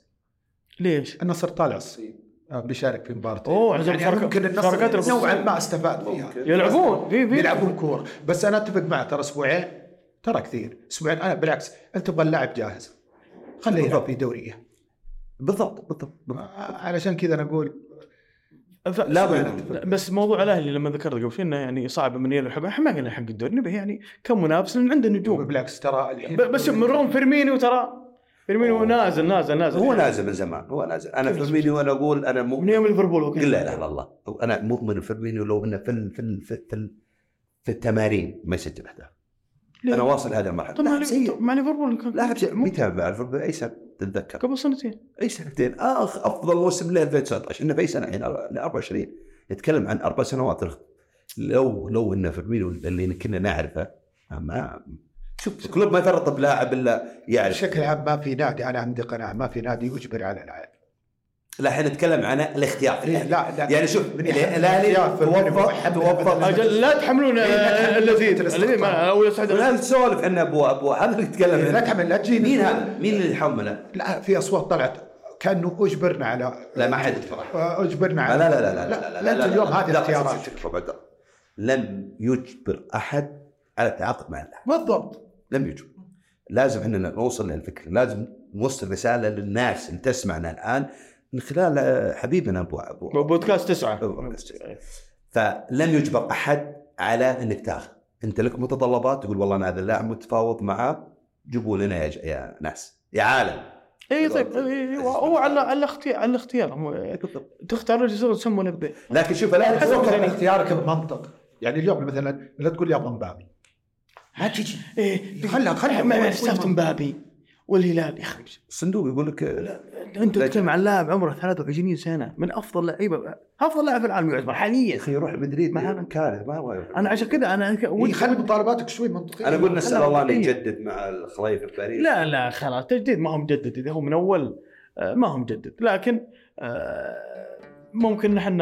Speaker 1: ليش؟
Speaker 3: النصر طالع الصين آه، بيشارك في مباراتين
Speaker 1: أوه، عشان
Speaker 3: يعني
Speaker 1: شاركة-
Speaker 3: ممكن
Speaker 1: شاركات
Speaker 3: النصر
Speaker 1: البطولة.
Speaker 3: نوعا ما استفاد فيها
Speaker 2: ممكن.
Speaker 1: يلعبون في في
Speaker 3: بيلعبون كوره بس انا اتفق معه ترى اسبوعين ترى كثير اسبوعين انا بالعكس انت تبغى اللاعب جاهز خليه يلعب في دوريه
Speaker 2: بالضبط بالضبط
Speaker 3: آه، علشان كذا انا اقول
Speaker 1: ف-
Speaker 2: لا،
Speaker 1: لا،
Speaker 2: بد-
Speaker 1: بس موضوع الاهلي لما ذكرت قبل شوي انه يعني صعب من يلعب حق احنا ما قلنا حق الدوري نبي يعني كمنافس لان عنده نجوم
Speaker 3: بالعكس ترى الحين
Speaker 1: ب- بس من رغم فيرمينيو ترى فيرمينيو
Speaker 2: أوه.
Speaker 1: نازل نازل نازل
Speaker 2: هو نازل من زمان هو نازل انا
Speaker 1: إيه.
Speaker 2: فيرمينيو انا اقول انا
Speaker 1: من
Speaker 2: مؤمن
Speaker 1: يوم ليفربول هو كان.
Speaker 2: قل لا اله الا الله انا مؤمن فيرمينيو لو انه في ال- في ال- في ال- في التمارين ما يسجل اهداف
Speaker 1: ليه؟
Speaker 2: انا واصل هذه المرحله
Speaker 1: طب مع
Speaker 2: لاعب
Speaker 1: لي-
Speaker 2: سيء
Speaker 1: طب مع ليفربول كان-
Speaker 2: لاعب سيء
Speaker 1: مو-
Speaker 2: متى بعرف اي سنه تتذكر
Speaker 1: قبل سنتين
Speaker 2: اي سنتين اخ افضل موسم له 2019 انه في اي سنه الحين 24 نتكلم عن اربع سنوات لو لو انه فيرمينيو اللي كنا نعرفه ما شوف كلوب ما يفرط بلاعب الا يعرف
Speaker 3: بشكل عام ما في نادي انا عندي قناعه ما في نادي يجبر على لاعب
Speaker 2: لا احنا نتكلم عن الاختيار
Speaker 3: لا لا
Speaker 2: يعني شوف
Speaker 3: من
Speaker 2: الاهلي
Speaker 3: الاختيار فيرمينيو
Speaker 2: توظف
Speaker 3: محمد
Speaker 2: توظف
Speaker 3: بدل-
Speaker 1: اجل لا تحملون
Speaker 3: ليه لا
Speaker 1: آه،
Speaker 3: تحملون
Speaker 1: الذين
Speaker 3: فترة
Speaker 1: الذين ما- او يسعد
Speaker 2: لا نسولف عن ابو ابو هذا اللي نتكلم
Speaker 3: إيه، لا
Speaker 2: عنه
Speaker 3: تعمل لا تجيني
Speaker 2: مين هذا؟ مين اللي يحمله؟
Speaker 3: لا في اصوات طلعت كانه اجبرنا على
Speaker 2: لا ما حد يفرح
Speaker 3: اجبرنا
Speaker 2: لا
Speaker 3: على
Speaker 2: لا لا لا لا لا
Speaker 3: لا انت اليوم هذه
Speaker 2: لا،
Speaker 3: اختياراتك
Speaker 2: شوف عبد الله. لم يجبر احد على التعاقد مع اللاعب
Speaker 3: بالضبط
Speaker 2: لم يجبر لازم اننا نوصل للفكر لازم نوصل رساله للناس اللي تسمعنا الان من خلال آه، حبيبنا ابو ابو
Speaker 1: بودكاست تسعه
Speaker 2: بودكاست تسعة. فلم يجبر احد على انك تاخذ انت لك متطلبات تقول والله انا هذا اللاعب متفاوض معاه جيبوا لنا يا ج- يا ناس يا عالم
Speaker 1: اي طيب إي- إي- هو هو على على الاختيار على الاختيار مو- تختار الجزر تسمى نبي
Speaker 2: لكن شوف الان
Speaker 1: حسب
Speaker 3: حسب
Speaker 1: يعني-
Speaker 3: اختيارك بمنطق يعني اليوم مثلا لا تقول يا مبابي ما تجي
Speaker 1: ايه
Speaker 3: خلها- خلها-
Speaker 1: مع- مع سالفه مبابي والهلال يا اخي مش-
Speaker 2: الصندوق يقول لك آه،
Speaker 1: انت تتكلم عن لاعب عمره 23 سنه من افضل لعيبه افضل لاعب في العالم يعتبر حاليا
Speaker 2: اخي يروح مدريد
Speaker 1: ما أنا-
Speaker 2: ما كاره ما هو
Speaker 1: انا عشان كذا انا
Speaker 3: إيه، خلي مطالباتك شوي منطقيه
Speaker 2: انا اقول نسال
Speaker 1: أنا-
Speaker 2: الله ان
Speaker 1: إيه.
Speaker 2: يجدد مع الخلايف الباريس
Speaker 1: لا لا خلاص تجديد ما هو مجدد اذا هو من اول آه، ما هو مجدد لكن آه، ممكن نحن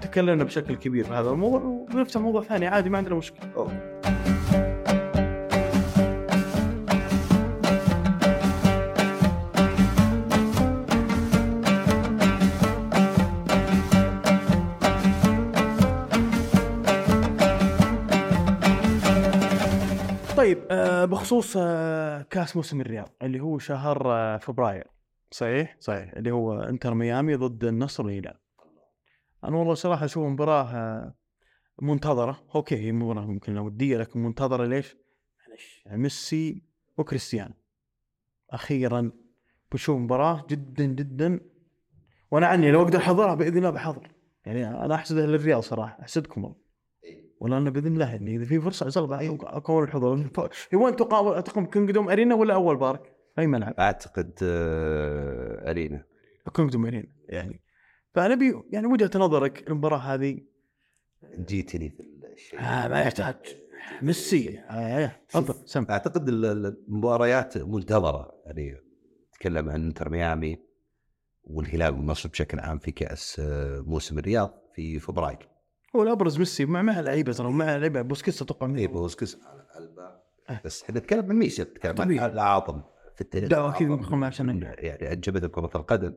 Speaker 1: تكلمنا بشكل كبير في هذا الموضوع ونفتح موضوع ثاني عادي ما عندنا مشكله
Speaker 2: أوه.
Speaker 1: طيب آه، بخصوص آه، كاس موسم الرياض اللي هو شهر آه، فبراير صحيح صحيح اللي هو انتر ميامي ضد النصر والهلال انا والله صراحه اشوف مباراه آه، منتظره اوكي هي مباراه ممكن وديه لكن منتظره ليش؟ معلش ميسي وكريستيانو اخيرا بنشوف مباراه جدا جدا وانا عني لو اقدر احضرها باذن الله بحضر يعني انا احسد اهل الرياض صراحه احسدكم والله والله انا باذن الله يعني اذا في فرصه ان شاء الله بعد اكون الحضور هي وين تقام تقام كينج دوم ارينا ولا اول بارك؟ اي ملعب؟
Speaker 2: اعتقد آه، ارينا
Speaker 1: كينج دوم ارينا يعني فنبي يعني وجهه نظرك المباراه هذه
Speaker 2: جيتني في الشيء
Speaker 1: آه ما يحتاج ميسي آه، آه، تفضل سم
Speaker 2: اعتقد ال- ال- المباريات منتظره يعني نتكلم عن انتر ميامي والهلال والنصر بشكل عام في كاس آه، موسم الرياض في فبراير
Speaker 1: هو الابرز ميسي مع مع لعيبه ترى مع لعيبه بوسكيتس اتوقع
Speaker 2: اي
Speaker 1: منه.
Speaker 2: بوسكس على البا
Speaker 1: آه.
Speaker 2: بس احنا نتكلم عن ميسي نتكلم عن
Speaker 1: طبيعي.
Speaker 2: العاطم في التاريخ
Speaker 1: لا، أكيد
Speaker 2: العاطم.
Speaker 1: بنقول مع عشان-
Speaker 2: يعني انجبت كره القدم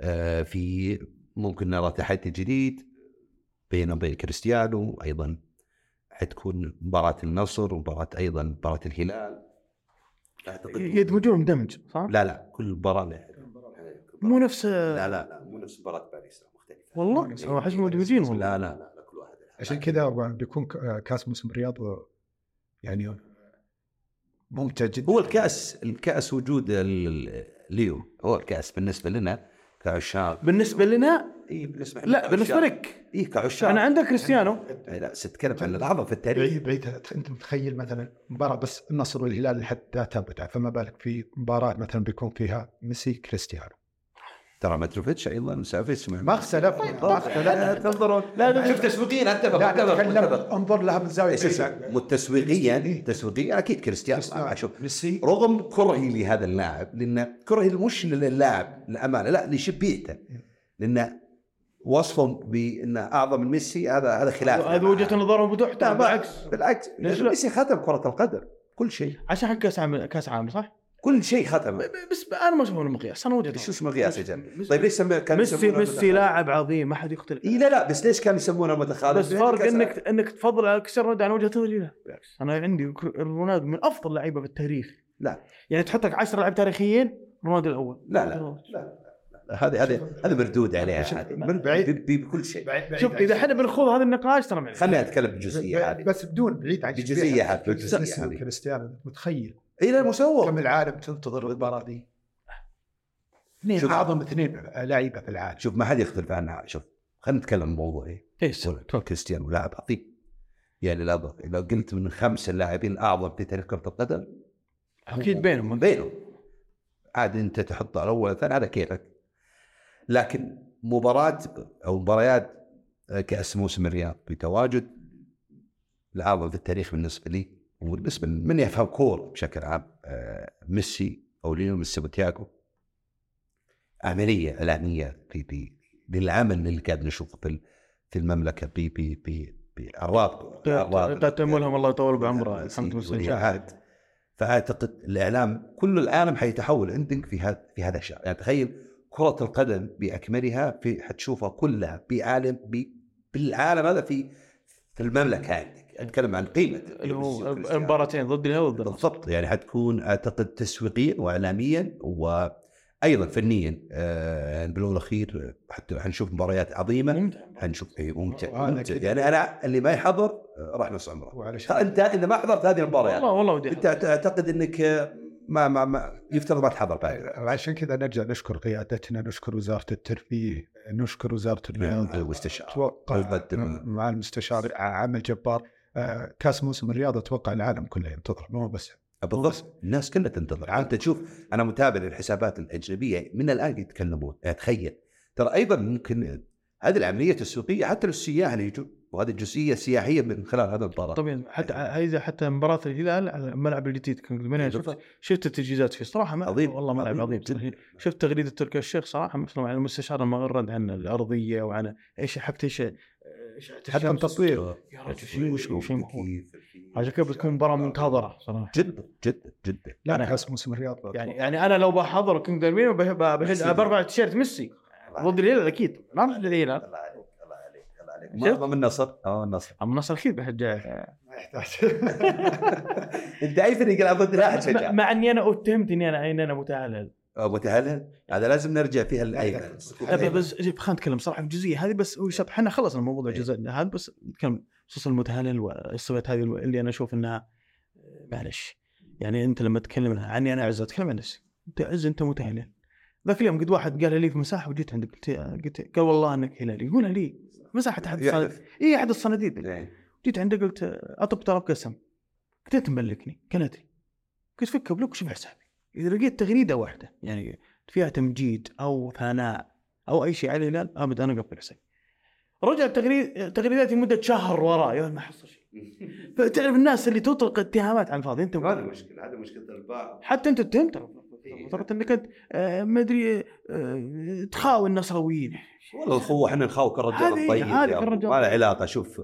Speaker 2: آه، في ممكن نرى تحدي جديد بين وبين كريستيانو ايضا حتكون مباراه النصر ومباراه ايضا مباراه الهلال اعتقد
Speaker 1: يدمجونهم دمج صح؟
Speaker 2: لا لا كل مباراه لها
Speaker 1: مو نفس آه،
Speaker 2: لا لا لا مو نفس مباراه باريس لا، مختلفه
Speaker 1: والله؟
Speaker 2: يعني
Speaker 1: أنا أحس مدمجين والله.
Speaker 2: لا لا لا لا، كل واحد
Speaker 3: عشان كذا بيكون ك- كاس موسم الرياض يعني ممتع جدا
Speaker 2: هو الكاس الكاس وجود ال- ال- اليوم هو الكاس بالنسبه لنا كعشاق
Speaker 1: بالنسبه لنا
Speaker 2: اي بالنسبه
Speaker 1: لا بالنسبه لك
Speaker 2: اي كعشاق
Speaker 1: انا عندك كريستياعو
Speaker 2: إي لا تتكلم عن الاعظم في التاريخ
Speaker 3: بعيد بعيد انت متخيل مثلا مباراه بس النصر والهلال لحد ذاتها متعه فما بالك في مباراه مثلا بيكون فيها ميسي كريستيانو
Speaker 2: ترى متروفيتش ايضا مسافر اسمه
Speaker 3: ما اختلف ما اختلف
Speaker 2: تنظرون لا شوف تسويقيا اتفق
Speaker 3: طيب، لا
Speaker 2: اتفق
Speaker 3: نتكلم
Speaker 2: اتفق.
Speaker 3: انظر لها من زاويه
Speaker 2: إيش اسمه؟
Speaker 3: بعيدة.
Speaker 2: مت- تسويقيا
Speaker 3: إيه.
Speaker 2: تسويقيا اكيد كريستيانو شوف
Speaker 3: ميسي
Speaker 2: رغم كرهي لهذا اللاعب لان كرهي مش للاعب للامانه لا لشبيهته لان وصفهم بانه اعظم من ميسي هذا هذا خلاف
Speaker 1: هذا وجهه نظرهم
Speaker 2: لا
Speaker 1: وضحتها
Speaker 2: بالعكس
Speaker 1: بالعكس
Speaker 2: بالعكس
Speaker 1: ليش لا؟
Speaker 2: ميسي ختم كره القدم كل شيء
Speaker 1: عشان حق كاس عام كاس عام صح؟
Speaker 2: كل شيء ختم
Speaker 1: ب- بس انا ما اشوفه مقياس انا وجهه نظري.
Speaker 2: شو اسمه قياس يا جماعه
Speaker 1: ميسي-
Speaker 2: طيب ليش سمي كان
Speaker 1: ميسي
Speaker 2: يسمونه
Speaker 1: ميسي
Speaker 2: المتخاذل؟
Speaker 1: لاعب عظيم ما حد يختلف
Speaker 2: إيه لا لا بس ليش كانوا يسمونه متخاذل؟
Speaker 1: بس فرق انك انك تفضل على كريستيانو رونالدو انا وجهه نظري لا بالعكس انا عندي كر- رونالدو من افضل لعيبه في التاريخ
Speaker 2: لا.
Speaker 1: يعني تحطك 10 لعيبه تاريخيين رونالدو الاول
Speaker 2: لا لا هذه هذه هذه مردود عليها هذه
Speaker 3: بعيد.
Speaker 2: ب- ب- بكل شيء
Speaker 1: شوف اذا احنا بنخوض هذا النقاش ترى معليش
Speaker 2: خليني اتكلم بجزئيه
Speaker 3: ب-
Speaker 2: هذه
Speaker 3: بس بدون بعيد عن
Speaker 2: بجزئية
Speaker 3: شبيهة.
Speaker 2: هذه، بجزئية
Speaker 3: ميسي
Speaker 2: هذه.
Speaker 3: وكريستيانو متخيل
Speaker 2: اي لا مسوغ
Speaker 3: كم العالم تنتظر المباراه دي
Speaker 2: شوف.
Speaker 3: اثنين
Speaker 2: آه.
Speaker 3: اعظم اثنين لعيبه في العالم
Speaker 2: شوف ما حد يختلف عنها شوف خلينا نتكلم موضوعي
Speaker 1: ايش
Speaker 2: كريستيانو لاعب عظيم يعني لا ضغط. لو قلت من خمسه اللاعبين الاعظم في تاريخ كره القدم
Speaker 1: اكيد بينهم
Speaker 2: يعني بينهم عاد انت تحطه على اول ثاني على كيفك لكن مباراه او مباريات كاس موسم الرياض بتواجد الاعظم في التاريخ بالنسبه لي وبالنسبه لمن يفهم كوره بشكل عام آه، ميسي او ليونيل ميسي وتياجو عمليه اعلاميه في في للعمل اللي قاعد نشوفه في في المملكه ب ب ب بالرابط
Speaker 1: تأتملهم الله يطول بعمره الحمد لله
Speaker 2: والإعاد. فاعتقد الاعلام كل العالم حيتحول عندك في هذا في هذا الشهر يعني تخيل كره القدم باكملها في حتشوفها كلها بعالم ب- بالعالم هذا في في المملكه عندك اتكلم عن قيمه
Speaker 1: اللي هو
Speaker 2: ميسي وكريستيانو.
Speaker 1: المباراتين ضد الهلال وضد النصر.
Speaker 2: بالضبط يعني حتكون اعتقد تسويقيا واعلاميا وايضا فنيا آه، يعني بالاول والاخير حتى حنشوف مباريات عظيمه
Speaker 1: ممتع
Speaker 2: حنشوف إيه، ممتع,
Speaker 3: وهذا
Speaker 2: ممتع.
Speaker 3: كده.
Speaker 2: يعني انا اللي ما يحضر آه، راح نص عمره
Speaker 3: وعلشان
Speaker 2: انت اذا ما حضرت هذه المباريات
Speaker 1: والله والله ودي
Speaker 2: انت تعتقد انك ما ما, ما يفترض ما تحضر بعد
Speaker 3: عشان كذا نرجع نشكر قيادتنا نشكر وزاره الترفيه نشكر وزاره
Speaker 2: على
Speaker 1: نعم،
Speaker 3: الرياضه
Speaker 2: المستشار
Speaker 3: اتوقع
Speaker 2: البد-
Speaker 3: مع المستشار عمل جبار آه، كاس موسم الرياض اتوقع العالم كله ينتظر مو بس
Speaker 2: بالضبط الناس كلها تنتظر انت تشوف انا متابع للحسابات الاجنبيه من الان يتكلمون يعني تخيل ترى ايضا ممكن هذه العمليه التسويقيه حتى للسياح اللي يجوا وهذه الجزئيه السياحيه من خلال هذا المباراه
Speaker 1: طبيعي حتى اذا حتى مباراه الهلال على الملعب الجديد كنت من هنا شفت شفت التجهيزات فيه صراحه ما
Speaker 2: عظيم.
Speaker 1: والله ملعب عظيم
Speaker 2: جداً.
Speaker 1: شفت تغريده تركي الشيخ صراحه مثلا على المستشار لما رد عن الارضيه وعن ايش حتى ايش ايش
Speaker 3: حتى التصوير
Speaker 1: يا رجل شيء شيء شيء مهول.
Speaker 2: في-
Speaker 1: عشان كذا بتكون مباراه منتظره صراحه
Speaker 2: جدا جدا جدا
Speaker 3: لا
Speaker 1: أنا-
Speaker 3: كاس موسم الرياض
Speaker 1: يعني يعني انا لو بحضر كينج ديربي
Speaker 2: ميسي.
Speaker 1: باربع تيشيرت ميسي ضد الهلال اكيد ما راح للهلال
Speaker 2: الله عليك الله عليك الله عليك
Speaker 1: شفت؟
Speaker 2: معظم النصر اه النصر
Speaker 1: اما النصر اكيد بشجع
Speaker 3: ما يحتاج
Speaker 2: انت اي فريق يلعب ضد لا تشجع
Speaker 1: مع اني انا اتهمت اني انا اني انا متعال
Speaker 2: متهلل هذا لازم نرجع فيها للايمن
Speaker 1: لا، بس بس خلينا نتكلم صراحه في الجزئيه هذه بس هو شاب احنا خلصنا من موضوع الجزء هذا بس نتكلم خصوصا المتهلل والصفات هذه اللي انا اشوف انها معلش يعني انت لما تتكلم عني انا اعز اتكلم عن نفسي انت اعز انت متهلل ذاك اليوم قد واحد قال لي في مساحه وجيت عندك قلت قلت قال والله انك هلالي يقولها لي مساحه احد الصناديد
Speaker 2: يحدث.
Speaker 1: اي احد الصناديد
Speaker 2: إيه.
Speaker 1: جيت عنده قلت اطب طلب قسم قلت انت مملكني كندري قلت فك بلوك وشوف حسابي اذا لقيت تغريده واحده يعني فيها تمجيد او ثناء او اي شيء على الهلال ابدا انا اقفل حسابي رجع تغريد تغريداتي مده شهر وراه يا ما حصل شيء فتعرف الناس اللي تطلق اتهامات على الفاضي انت
Speaker 2: هذه مشكله هذه مشكله البعض
Speaker 1: حتى انت اتهمت
Speaker 2: إيه.
Speaker 1: فقط انك انت آه، ما ادري آه، تخاوي النصراويين
Speaker 2: والله الخوه احنا نخاوي كالرجال
Speaker 1: هذه-
Speaker 2: الطيب
Speaker 1: هذه
Speaker 2: يا أبو.
Speaker 1: كالرجال
Speaker 2: ما له
Speaker 1: الطيب.
Speaker 2: علاقه شوف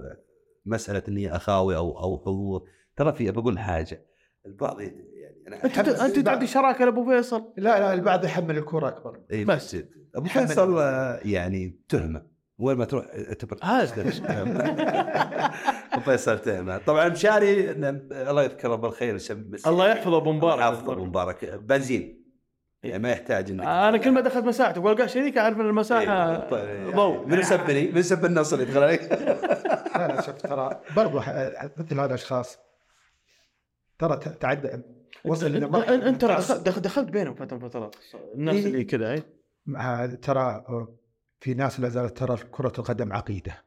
Speaker 2: مساله اني اخاوي او او حضور ترى في بقول حاجه البعض يت- يعني انا
Speaker 1: انت
Speaker 2: أحب-
Speaker 1: انت تعطي شراكه لابو فيصل
Speaker 3: لا لا البعض يحمل الكره اكبر
Speaker 2: إيه،
Speaker 1: بس.
Speaker 2: ابو
Speaker 3: أحمد.
Speaker 2: فيصل آه، يعني تهمه وين ما تروح اعتبر ابو فيصل تهمه طبعا مشاري إنه- الله يذكره بالخير يسمي-
Speaker 1: الله يحفظه ابو مبارك
Speaker 2: حافظ ابو مبارك بنزين
Speaker 1: إيه.
Speaker 2: يعني ما يحتاج انك
Speaker 1: انا كل ما دخلت مساحته والقى شريك اعرف ان المساحه
Speaker 2: إيه، طيب.
Speaker 1: ضوء
Speaker 2: من سبني من سب النصر إيه، يدخل عليك
Speaker 3: لا لا شوف ترى برضو ح- مثل هذا الاشخاص ترى ت- تعدى وصل
Speaker 1: يعني أنت-
Speaker 3: لمرحلة
Speaker 1: أنت- انت ترى
Speaker 3: تعصب.
Speaker 1: دخ- دخلت بينهم فتره فترات الناس
Speaker 3: إيه.
Speaker 1: اللي كذا اي
Speaker 3: مع- ترى في ناس لا زالت ترى كرة القدم عقيدة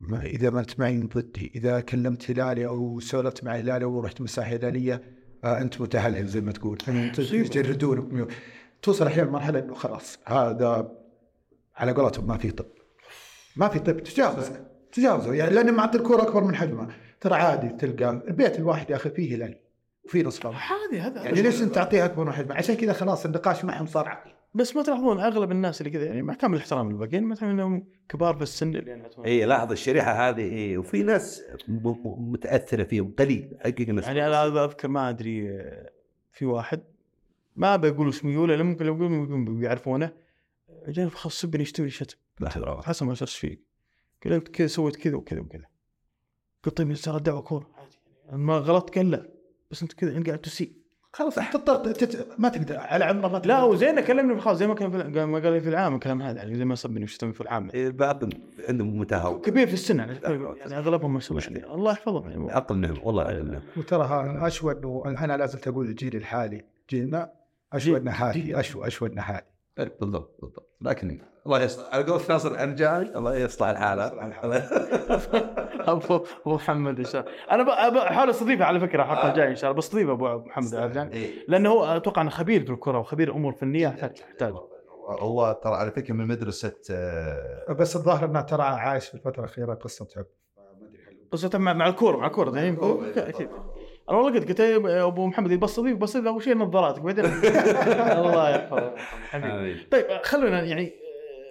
Speaker 3: ما إذا ما أنت معي ضدي إذا كلمت هلالي أو سولفت مع هلالي ورحت مساحة هلالية آه أنت متهلهل زي ما تقول يعني أنت يجردونك ميو- توصل أحيانا لمرحلة أنه خلاص هذا على قولتهم ما في طب ما في طب تجاوزه تجاوزه يعني لأن معطي الكرة أكبر من حجمها ترى عادي تلقى البيت الواحد يا أخي فيه هلالي وفيه نصراوي
Speaker 1: عادي هذا
Speaker 3: يعني ليش انت تعطيها اكبر من حجمها؟ عشان كذا خلاص النقاش معهم صار عقلي.
Speaker 1: بس ما تلاحظون اغلب الناس اللي كذا يعني مع كامل الاحترام للباقيين مثلا انهم كبار في السن اللي يعني يعتبرون-
Speaker 3: إيه.
Speaker 2: اي إيه، لاحظ الشريحه هذه اي وفي ناس م- م- متاثره فيهم قليل حقيقه ناس
Speaker 1: يعني انا اذكر ما ادري آه، في واحد ما بقول اسمه يولا لأن ممكن لو يقولون يعرفونه جاني خاص سبني يشتمني شتم
Speaker 2: لحظه
Speaker 1: حسن ما شفت فيك قلت كذا سويت كذا وكذا وكذا قلت طيب ترى الدعوه كوره عادي يعني ما غلطت قال لا بس انت كذا انت قاعد تسيء
Speaker 3: خلاص تضطر تت... ما تقدر على عمره ما تقدر.
Speaker 1: لا وزين كلمني في خلاص زي ما كان في الع- قال- ما قال لي في العام الكلام هذا يعني زي ما صبني وشتمني في العام
Speaker 2: البعض إيه، عندهم متهور
Speaker 1: كبير في السن يعني يعني اغلبهم ما شاء الله يعني الله يحفظهم يعني
Speaker 2: عقل نعم والله عقل نعم
Speaker 3: وترى ها- اشوى انه انا لازلت اقول الجيل الحالي جيلنا اشوى انه
Speaker 1: جيل.
Speaker 3: حالي اشوى اشوى انه حالي.
Speaker 2: إيه، بالضبط بالضبط لكن الله يصلح على قول ناصر انا جاي الله يصلح إيه.
Speaker 3: يصلح
Speaker 2: الحاله
Speaker 3: الحالة.
Speaker 2: (laughs)
Speaker 1: ابو أبو محمد ان شاء الله انا ب- ب- بحاول استضيفه على فكره الحلقه الجايه ان شاء الله بستضيف ابو محمد عبدان
Speaker 4: يعني
Speaker 2: إيه.
Speaker 1: لانه هو اتوقع انه خبير بالكره وخبير امور فنيه يحتاج يحتاج
Speaker 4: هو ترى على فكره من مدرسه آه،
Speaker 3: بس الظاهر انه ترى عايش في الفتره الاخيره قصه تعب.
Speaker 1: قصة مع مع الكوره مع الكوره يعني اكيد
Speaker 4: آه،
Speaker 1: انا والله قلت قلت يا ابو محمد يبي بستضيف بستضيف اول شيء نظاراتك بعدين الله يحفظك حبيبي
Speaker 4: آه،
Speaker 2: آمين.
Speaker 1: (laughs) طيب خلونا يعني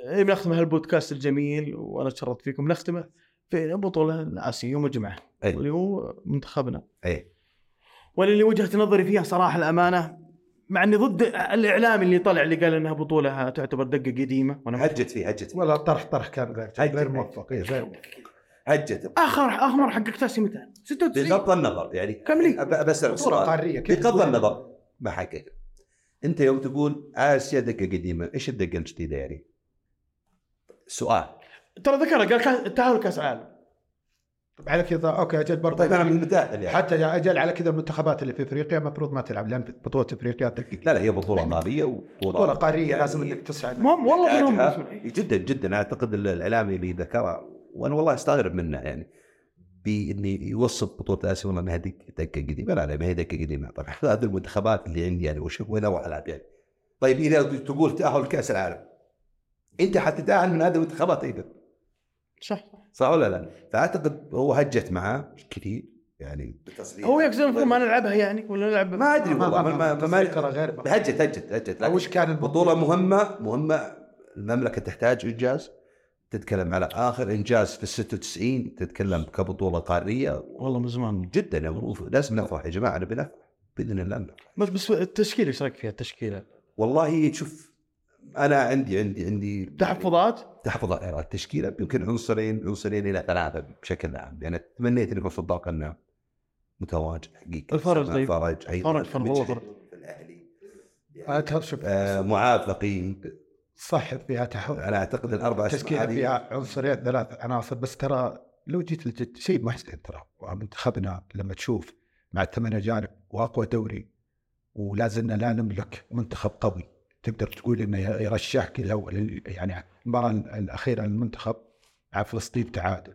Speaker 1: آه، بنختم هالبودكاست الجميل وانا تشرفت فيكم نختمه في بطوله الاسيا يوم الجمعه
Speaker 2: أي.
Speaker 1: اللي هو منتخبنا
Speaker 2: أي.
Speaker 1: واللي وجهه نظري فيها صراحه الامانه مع اني ضد الاعلام اللي طلع اللي قال انها بطوله تعتبر دقه قديمه وانا مت-
Speaker 2: هجت فيه هجت فيه
Speaker 3: ولا طرح طرح كان غير غير موفق إيه، غير موفق.
Speaker 2: هجت
Speaker 1: اخر اخر حققت اسيا متى؟ 96
Speaker 2: بغض النظر يعني
Speaker 1: كملي.
Speaker 2: أب- بسألك
Speaker 3: صوره
Speaker 2: سؤال
Speaker 3: قاريه كيف
Speaker 2: بغض
Speaker 3: تقول؟
Speaker 2: النظر ما حقق انت يوم تقول "آه، اسيا دقه قديمه ايش الدقه الجديده يعني؟ سؤال
Speaker 1: ترى ذكرها قال كاس التاهل كاس عالم
Speaker 3: طب على كذا اوكي اجل برضه
Speaker 2: طيب انا من المتاهل يعني
Speaker 3: حتى يا اجل على كذا المنتخبات اللي في افريقيا المفروض ما تلعب لان بطوله افريقيا دقيقه.
Speaker 2: لا لا هي بطوله ماليه وبطوله
Speaker 3: بطوله قاريه لازم انك تسعد
Speaker 1: المهم والله غيرهم
Speaker 2: يحتاجها جدا جدا اعتقد الاعلامي اللي ذكرها وانا والله استغرب منه يعني باني يوصف بطوله اسيا والله انها دك- دكه قديمه لا لا ما هي دكه قديمه طبعا (laughs) هذه المنتخبات اللي عندي انا وش وين اروح العب يعني طيب اذا تقول تاهل كاس العالم انت حتتاهل من هذه المنتخبات ايضا
Speaker 1: صح
Speaker 2: صح ولا لا؟ فاعتقد هو هجت معاه كثير يعني
Speaker 1: هو يكزن المفروض ما نلعبها يعني ولا نلعب
Speaker 2: ما ادري
Speaker 3: ما-
Speaker 2: والله ما ما ما, ما,
Speaker 3: تذكرة غير
Speaker 2: ما هجت هجت هجت لكن-
Speaker 3: وش كان الموضوع؟
Speaker 2: بطولة مهمة مهمة المملكة تحتاج إنجاز تتكلم على آخر إنجاز في ال 96 تتكلم كبطولة قارية
Speaker 1: والله من زمان
Speaker 2: جدا يعني لازم نفرح يا جماعة نبي نفرح بإذن الله نفرح
Speaker 1: بس بس التشكيله ايش رايك فيها التشكيله؟
Speaker 2: والله شوف أنا عندي عندي عندي
Speaker 1: تحفظات
Speaker 2: تحفظ على التشكيلة يمكن عنصرين عنصرين إلى ثلاثة بشكل عام يعني تمنيت أن يكون صداق أنه متواجد حقيقة
Speaker 1: الفرج طيب.
Speaker 2: فرج أيضا
Speaker 1: فرج- فرج، والله فرج.
Speaker 2: في الأهلي
Speaker 3: آه، ترى شوف
Speaker 2: آه معاذ ثقيل
Speaker 3: صح فيها تحول
Speaker 2: أنا أعتقد الأربع اسماء
Speaker 3: تشكيله
Speaker 2: هذه-
Speaker 3: فيها عنصرين ثلاث عناصر بس ترى لو جيت للجد شيء محزن ترى منتخبنا لما تشوف مع الثمانية جانب واقوى دوري ولا زلنا لا نملك منتخب قوي تقدر تقول انه يرشحك الاول يعني المباراه الاخيره المنتخب مع فلسطين تعادل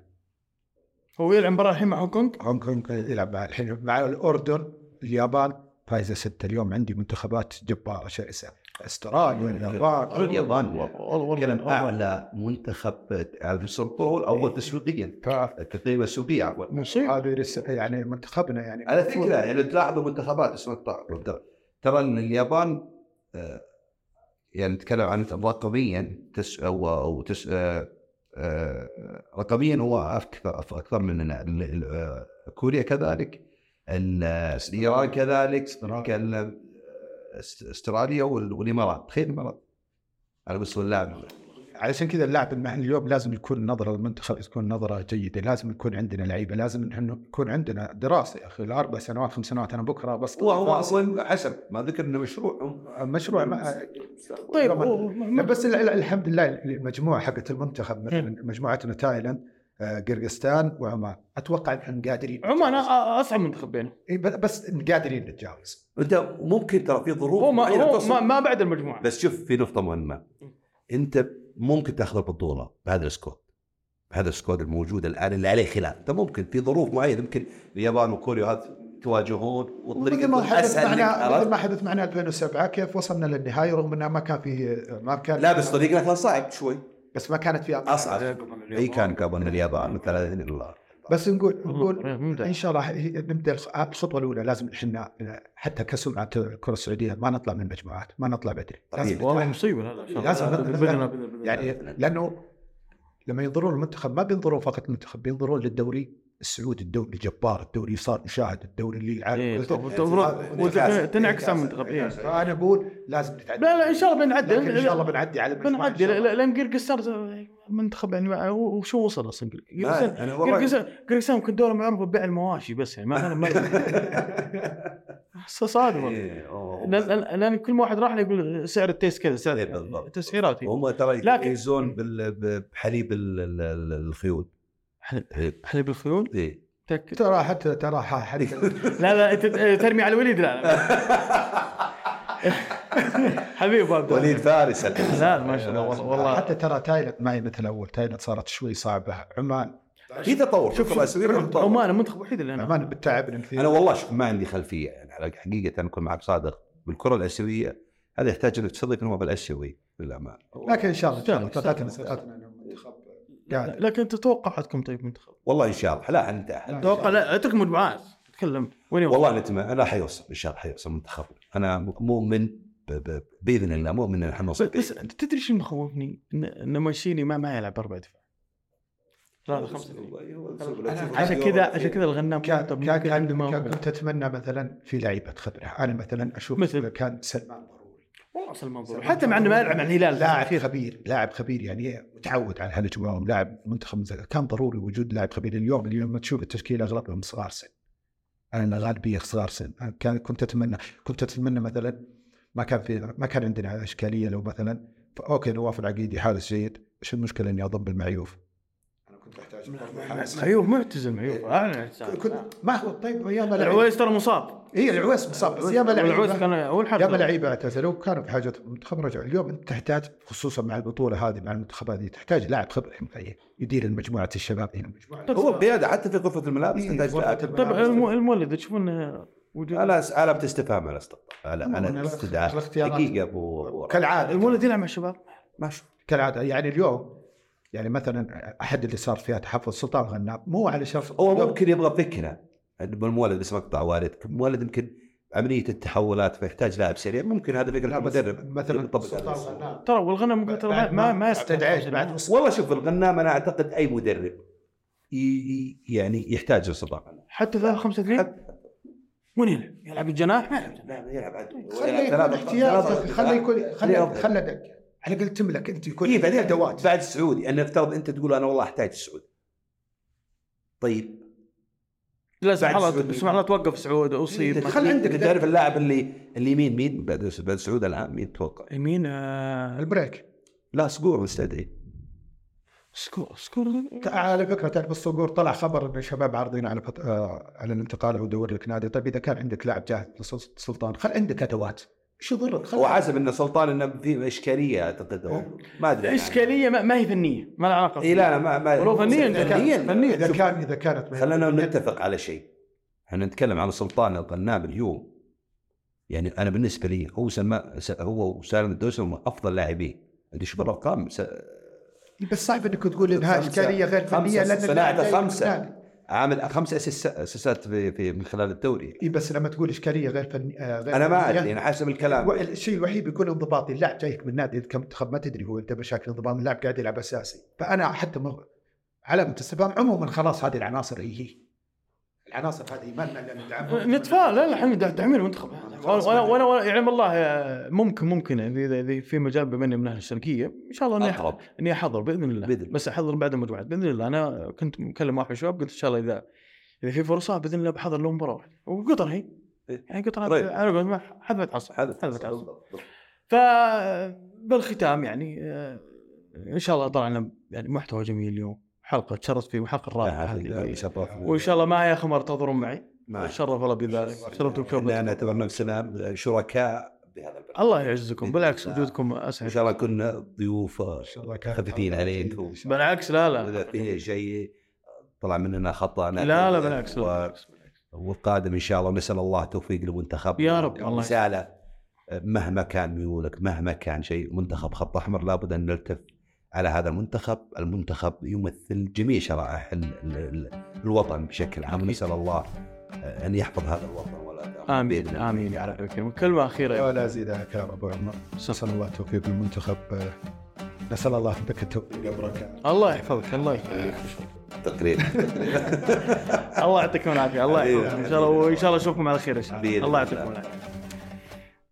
Speaker 1: هو يلعب مباراه الحين مع هونغ كونغ
Speaker 3: هونغ كونغ يلعب مع الحين مع الاردن اليابان فايزه ستة اليوم عندي منتخبات جباره شرسه استراليا اليابان
Speaker 2: اليابان
Speaker 1: والله
Speaker 2: والله
Speaker 3: آه
Speaker 1: والله
Speaker 2: اعلى منتخب على مستوى البطوله اول تسويقيا
Speaker 3: ف-
Speaker 2: التقييم السوقي اول
Speaker 1: مصيبه
Speaker 3: هذه رس- يعني منتخبنا يعني
Speaker 2: على فكره يعني تلاحظوا منتخبات اسمها الطاقم ترى ان اليابان آه، يعني نتكلم عن رقميا تس او او تس آه، آه، رقميا هو اكثر اكثر من ال- ال- آه، كوريا كذلك ال- آه، ايران كذلك ال- آه، است- استراليا وال- والامارات تخيل الامارات على مستوى اللاعب
Speaker 3: علشان كذا اللاعب المحلي اليوم لازم يكون نظره للمنتخب تكون نظره جيده لازم يكون عندنا لعيبه لازم نحن يكون عندنا دراسه يا اخي الاربع سنوات خمس سنوات انا بكره بس
Speaker 2: هو هو اصلا حسب ما ذكر انه مشروع
Speaker 3: مشروع ما
Speaker 1: طيب
Speaker 3: رغم-
Speaker 1: هو-
Speaker 3: لا
Speaker 1: ما-
Speaker 3: بس ال- ال- الحمد لله المجموعه حقت المنتخب
Speaker 2: إيه.
Speaker 3: مثلا مجموعتنا تايلاند آه، قرقستان وعمان اتوقع نحن قادرين
Speaker 2: آه.
Speaker 1: عمان أ- أ- اصعب منتخب يعني. بينهم
Speaker 3: إي ب- بس قادرين نتجاوز
Speaker 2: انت ممكن ترى في ظروف
Speaker 1: هو ما
Speaker 2: معينة
Speaker 1: هو
Speaker 2: تصل.
Speaker 1: ما, ما بعد المجموعه
Speaker 2: بس شوف في نقطه مهمه انت ممكن تاخذ البطوله بهذا السكواد بهذا السكواد الموجود الان اللي عليه خلاف انت ممكن في ظروف معينه يمكن اليابان وكوريا هذا تواجهون والطريقه
Speaker 3: مثل ما
Speaker 2: تكون
Speaker 3: حدث
Speaker 2: اسهل لك،
Speaker 3: معنا
Speaker 2: عرفت؟
Speaker 3: مثل ما حدث معنا 2007 كيف وصلنا للنهايه رغم انها ما كان فيه ما كان
Speaker 2: لا بس طريقنا كان صعب شوي
Speaker 3: بس ما كانت فيها
Speaker 2: اصعب اي كان قبل اليابان مثلا إذن الله
Speaker 3: بس نقول نقول
Speaker 1: والله ممتاز.
Speaker 3: ان شاء الله هي- نبدا الخ- الخطوه الاولى لازم احنا حتى كسمعه الكره السعوديه ما نطلع من المجموعات ما نطلع بدري لازم
Speaker 2: طبيعي.
Speaker 1: والله
Speaker 3: نتوحد.
Speaker 1: مصيبه هذا
Speaker 3: لازم-
Speaker 1: بدنا بدنا
Speaker 3: يعني لانه لما ينظرون للمنتخب ما بينظرون فقط للمنتخب بينظرون للدوري السعودي الدوري جبار الدوري صار مشاهد الدوري اللي آه،
Speaker 1: إيه،
Speaker 3: العالم
Speaker 1: طب- طب-
Speaker 3: نعم.
Speaker 1: وت- تنعكس على المنتخب إيه.
Speaker 3: فانا اقول يعني لازم نتعدى
Speaker 1: لا لا ان شاء الله بنعدل
Speaker 3: آه، لكن ان شاء الله بنعدي على المجموعة، إن
Speaker 1: بنعدي
Speaker 3: شاء الله.
Speaker 1: لا- لان قرقستار منتخب يعني مع- هو هو شو وصل اصلا قرقستان-
Speaker 2: ما- انا والله
Speaker 1: قرقستان قرقستان يمكن دوله معروفه ببيع المواشي بس يعني ما كان ما- صادم والله.
Speaker 2: إيه، هو-
Speaker 1: لان لأن- لأن كل واحد راح له يقول سعر التيست كذا
Speaker 2: إيه،
Speaker 1: سعر يعني
Speaker 2: بالضبط.
Speaker 1: تسعيرات
Speaker 2: هم ترى
Speaker 1: لكن-
Speaker 2: يميزون بال- ب- بحليب ال- ال- ال- الخيول
Speaker 1: حليب الخيول
Speaker 2: إيه.
Speaker 1: تأكد.
Speaker 3: ترى حتى ترى
Speaker 1: (laughs)
Speaker 3: حتى
Speaker 1: لا لا أنت ترمي على الوليد لا
Speaker 2: (laughs)
Speaker 1: لا حبيب أبو عبد الله.
Speaker 2: وليد فارس
Speaker 1: لا ما شاء الله والله- والله
Speaker 3: حتى ترى تايلاند ما هي مثل اول تايلاند صارت شوي صعبه عمان
Speaker 2: (coughs) في تطور
Speaker 1: شوف-
Speaker 2: شوف
Speaker 1: عمان المنتخب الوحيد اللي انا
Speaker 3: عمان بتعبنا كثير
Speaker 2: انا والله شوف ما عندي خلفيه يعني على حقيقه انا اكون معك صادق بالكره الاسيويه هذا يحتاج انك تصدق انه هو بالاسيوي للامانه
Speaker 3: لكن ان شاء الله ان شاء الله
Speaker 1: إن شاء الله.
Speaker 3: توقعتنا توقعتنا إنه المنتخب قاعد.
Speaker 1: لكن تتوقع حتكون طيب منتخب
Speaker 2: والله ان شاء الله لا انت
Speaker 1: اتوقع لا اترك المجموعات تكلم وين يوصل؟
Speaker 2: والله نتمنى لا حيوصل ان شاء الله حيوصل منتخبنا انا مؤمن ب- ب- باذن الله مؤمن ان احنا
Speaker 1: بس,
Speaker 2: نوصل
Speaker 1: بس أنت تدري شو مخوفني؟ ان ان مانشيني ما ما يلعب اربع دفاع ثلاثة خمسة اثنين. عشان كذا عشان
Speaker 2: إيه.
Speaker 1: كذا الغنام
Speaker 3: كان
Speaker 1: طب
Speaker 3: كان
Speaker 1: ممكن عنده ما
Speaker 3: كان
Speaker 1: هو.
Speaker 3: كنت اتمنى مثلا في لعيبه خبره انا مثلا اشوف
Speaker 1: مثل؟
Speaker 3: كان سلمان ضروري
Speaker 1: والله سلمان ضروري. حتى مع انه ما يلعب مع الهلال
Speaker 3: لاعب خبير لاعب خبير يعني متعود على هالاجواء ولاعب منتخب مز- كان ضروري وجود لاعب خبير اليوم اليوم لما تشوف التشكيله اغلبهم صغار سن انا الغالبيه صغار سن أنا كان كنت اتمنى كنت اتمنى مثلا ما كان في ما كان عندنا اشكاليه لو مثلا ف- اوكي نواف العقيدي حارس جيد ايش المشكله اني اضم المعيوف؟ انا كنت احتاج
Speaker 1: معيوب معتزل معيوب
Speaker 3: إيه.
Speaker 1: اعلن
Speaker 3: كنت ما هو طيب يا ما لعيبة-
Speaker 1: العويس ترى مصاب
Speaker 3: اي العويس مصاب بس ياما
Speaker 1: العويس
Speaker 3: لعيبه
Speaker 1: كان اول
Speaker 3: ياما
Speaker 1: حاجه
Speaker 3: لعيبه اعتزلوا كانوا بحاجه منتخب رجعوا اليوم انت تحتاج خصوصا مع البطوله هذه مع المنتخبات هذه تحتاج لاعب خبره يعني يدير المجموعه الشباب يعني هنا المجموعه
Speaker 2: هو القياده حتى في غرفه الملابس تحتاج لاعب.
Speaker 1: طيب الم- المولد تشوفون آه، وجود-
Speaker 2: انا على استفهام على استطلاع على
Speaker 3: أنا
Speaker 2: على
Speaker 3: على
Speaker 2: استدعاء
Speaker 3: الاختيارات.
Speaker 2: دقيقه ابو أبو
Speaker 3: كالعاده
Speaker 1: المولد يلعب مع الشباب
Speaker 2: ما شوف
Speaker 3: كالعاده يعني اليوم يعني مثلا احد اللي صار فيها تحفظ سلطان غنام مو على شرف
Speaker 2: هو ممكن يبغى يعني فكره المولد بس مقطع والدك المولد يمكن عمليه التحولات فيحتاج لاعب سريع ممكن هذا فكره
Speaker 3: لا، بس
Speaker 2: المدرب
Speaker 3: مثلا
Speaker 2: يطبق
Speaker 3: سلطان
Speaker 2: عليه.
Speaker 3: غنام
Speaker 1: ترى والغنم ممكن ترى ما-
Speaker 3: بعد
Speaker 1: ما ما
Speaker 3: تدعيش بعد
Speaker 2: والله شوف الغنام انا اعتقد اي مدرب ي- ي- يعني يحتاج استطلاع
Speaker 1: حتى ثلاثة خمسة اثنين وين يلعب؟ يلعب الجناح ما يلعب
Speaker 2: لا يلعب عدو
Speaker 3: خليه يكون احتياط خليه يكون خليه خليه دك على الاقل تملك انت يكون
Speaker 2: إيه، بعدين
Speaker 3: ادوات
Speaker 2: بعد السعودي ان افترض انت تقول انا والله احتاج السعودي طيب
Speaker 1: لا سبحان
Speaker 2: بعد
Speaker 1: الله
Speaker 2: السعودية.
Speaker 1: سبحان الله توقف سعود
Speaker 3: (laughs)
Speaker 1: اصيب
Speaker 2: خل عندك
Speaker 3: عندك-
Speaker 2: تعرف اللاعب اللي اللي يمين مين بعد بعد السعودي الان مين تتوقع؟
Speaker 1: يمين آه،
Speaker 3: البريك
Speaker 2: لا سقور مستدعي
Speaker 1: سكور سكور
Speaker 3: على فكره تعرف الصقور طلع خبر ان الشباب عارضين على فت... آه على الانتقال او دور لك نادي طيب اذا كان عندك لاعب جاهز لسلط- سلطان خل عندك ادوات شو يضرك خل
Speaker 2: وحسب ان سلطان انه في اشكاليه اعتقد أو ما ادري عنها.
Speaker 1: اشكاليه ما, ما هي فنيه ما لها علاقه
Speaker 2: اي لا لا ما ما
Speaker 1: ولو فنياً كان-
Speaker 2: فنيا
Speaker 1: فنياً.
Speaker 3: اذا كان اذا كانت
Speaker 2: خلينا نتفق على شيء احنا نتكلم عن سلطان القناب اليوم يعني انا بالنسبه لي هو سما س- هو وسالم الدوسري هم افضل لاعبين انت شوف الارقام س-
Speaker 3: إيه، بس صعب انك تقول انها
Speaker 2: خمسة-
Speaker 3: اشكاليه غير
Speaker 2: خمسة
Speaker 3: فنيه لان
Speaker 2: صناعة
Speaker 3: اللاعب جاي من
Speaker 2: خمسة.
Speaker 3: النادي.
Speaker 2: عامل خمس أسس- اساسات في, في من خلال الدوري
Speaker 3: إي إيه، بس لما تقول اشكاليه غير فنيه غير
Speaker 2: انا ما
Speaker 3: فنية،
Speaker 2: ادري انا حسب الكلام
Speaker 3: و- الشيء الوحيد بيكون انضباطي اللاعب جايك من نادي كمنتخب ما تدري هو انت مشاكل انضباط اللاعب قاعد يلعب اساسي فانا حتى م... علامه استفهام عموما خلاص هذه العناصر هي هي العناصر هذه ما لنا إلا ندعمها.
Speaker 1: نتفائل لا لا احنا دا- داعمين المنتخب وانا وانا- وانا وانا يعني والله آه، ممكن ممكن يعني اذا اذا في مجال بما اني من اهل الشرقيه ان شاء الله اني
Speaker 2: اقرب
Speaker 1: اني احضر باذن الله
Speaker 2: بإذن الله.
Speaker 1: بس احضر بعد المجموعات باذن الله انا كنت مكلم واحد من الشباب قلت ان شاء الله اذا اذا في فرصه باذن الله بحضر له مباراه واحده وقطر هي
Speaker 2: إيه.
Speaker 1: يعني قطر
Speaker 2: طيب.
Speaker 1: على قول ما حد ما يتعصب
Speaker 2: هذا
Speaker 1: حد ما يتعصب فبالختام يعني آه، ان شاء الله طلعنا يعني محتوى جميل اليوم حلقه تشرفت فيه والحلقه الرابعه هذه. وان شاء الله ما يا خمر تضرون معي
Speaker 2: الله
Speaker 1: تشرف الله بذلك شرفت بكم
Speaker 2: احنا نعتبر نفسنا شركاء بهذا البرنامج
Speaker 1: الله يعزكم بالعكس
Speaker 2: لا.
Speaker 1: وجودكم
Speaker 2: ان شاء
Speaker 1: اسعد
Speaker 2: الله كنا ضيوف آه،
Speaker 3: ان شاء الله كان
Speaker 2: خفيفين عليكم.
Speaker 3: إن شاء الله.
Speaker 1: بالعكس لا
Speaker 2: واذا
Speaker 1: لا
Speaker 2: فيه شيء طلع مننا خطا
Speaker 1: لا لا بالعكس لا
Speaker 2: و...
Speaker 1: بالعكس.
Speaker 2: والقادم ان شاء الله ونسال الله توفيق المنتخب
Speaker 1: يا رب، الله
Speaker 2: رساله مهما كان ميولك مهما كان شيء منتخب خط احمر لابد ان نلتف على هذا المنتخب، المنتخب يمثل جميع شرائح ال- ال- ال- الوطن بشكل عام
Speaker 1: أكيد.
Speaker 2: ونسال الله ان يحفظ هذا الوطن ولا تأخذ
Speaker 1: امين
Speaker 2: بإذن الله. يعني
Speaker 1: امين يا رب الكريم كلمه اخيره يا
Speaker 3: ولا ازيد عليك يا ابو عمر نسال الله التوفيق للمنتخب آه، نسال الله لك التوفيق والبركه
Speaker 1: الله يحفظك الله
Speaker 2: (laughs)
Speaker 1: يخليك
Speaker 2: تقريبا
Speaker 1: الله يعطيكم العافيه الله يحفظكم ان شاء الله وان شاء الله اشوفكم على خير ان شاء
Speaker 2: بإذن
Speaker 1: الله الله يعطيكم
Speaker 2: الله.
Speaker 1: العافيه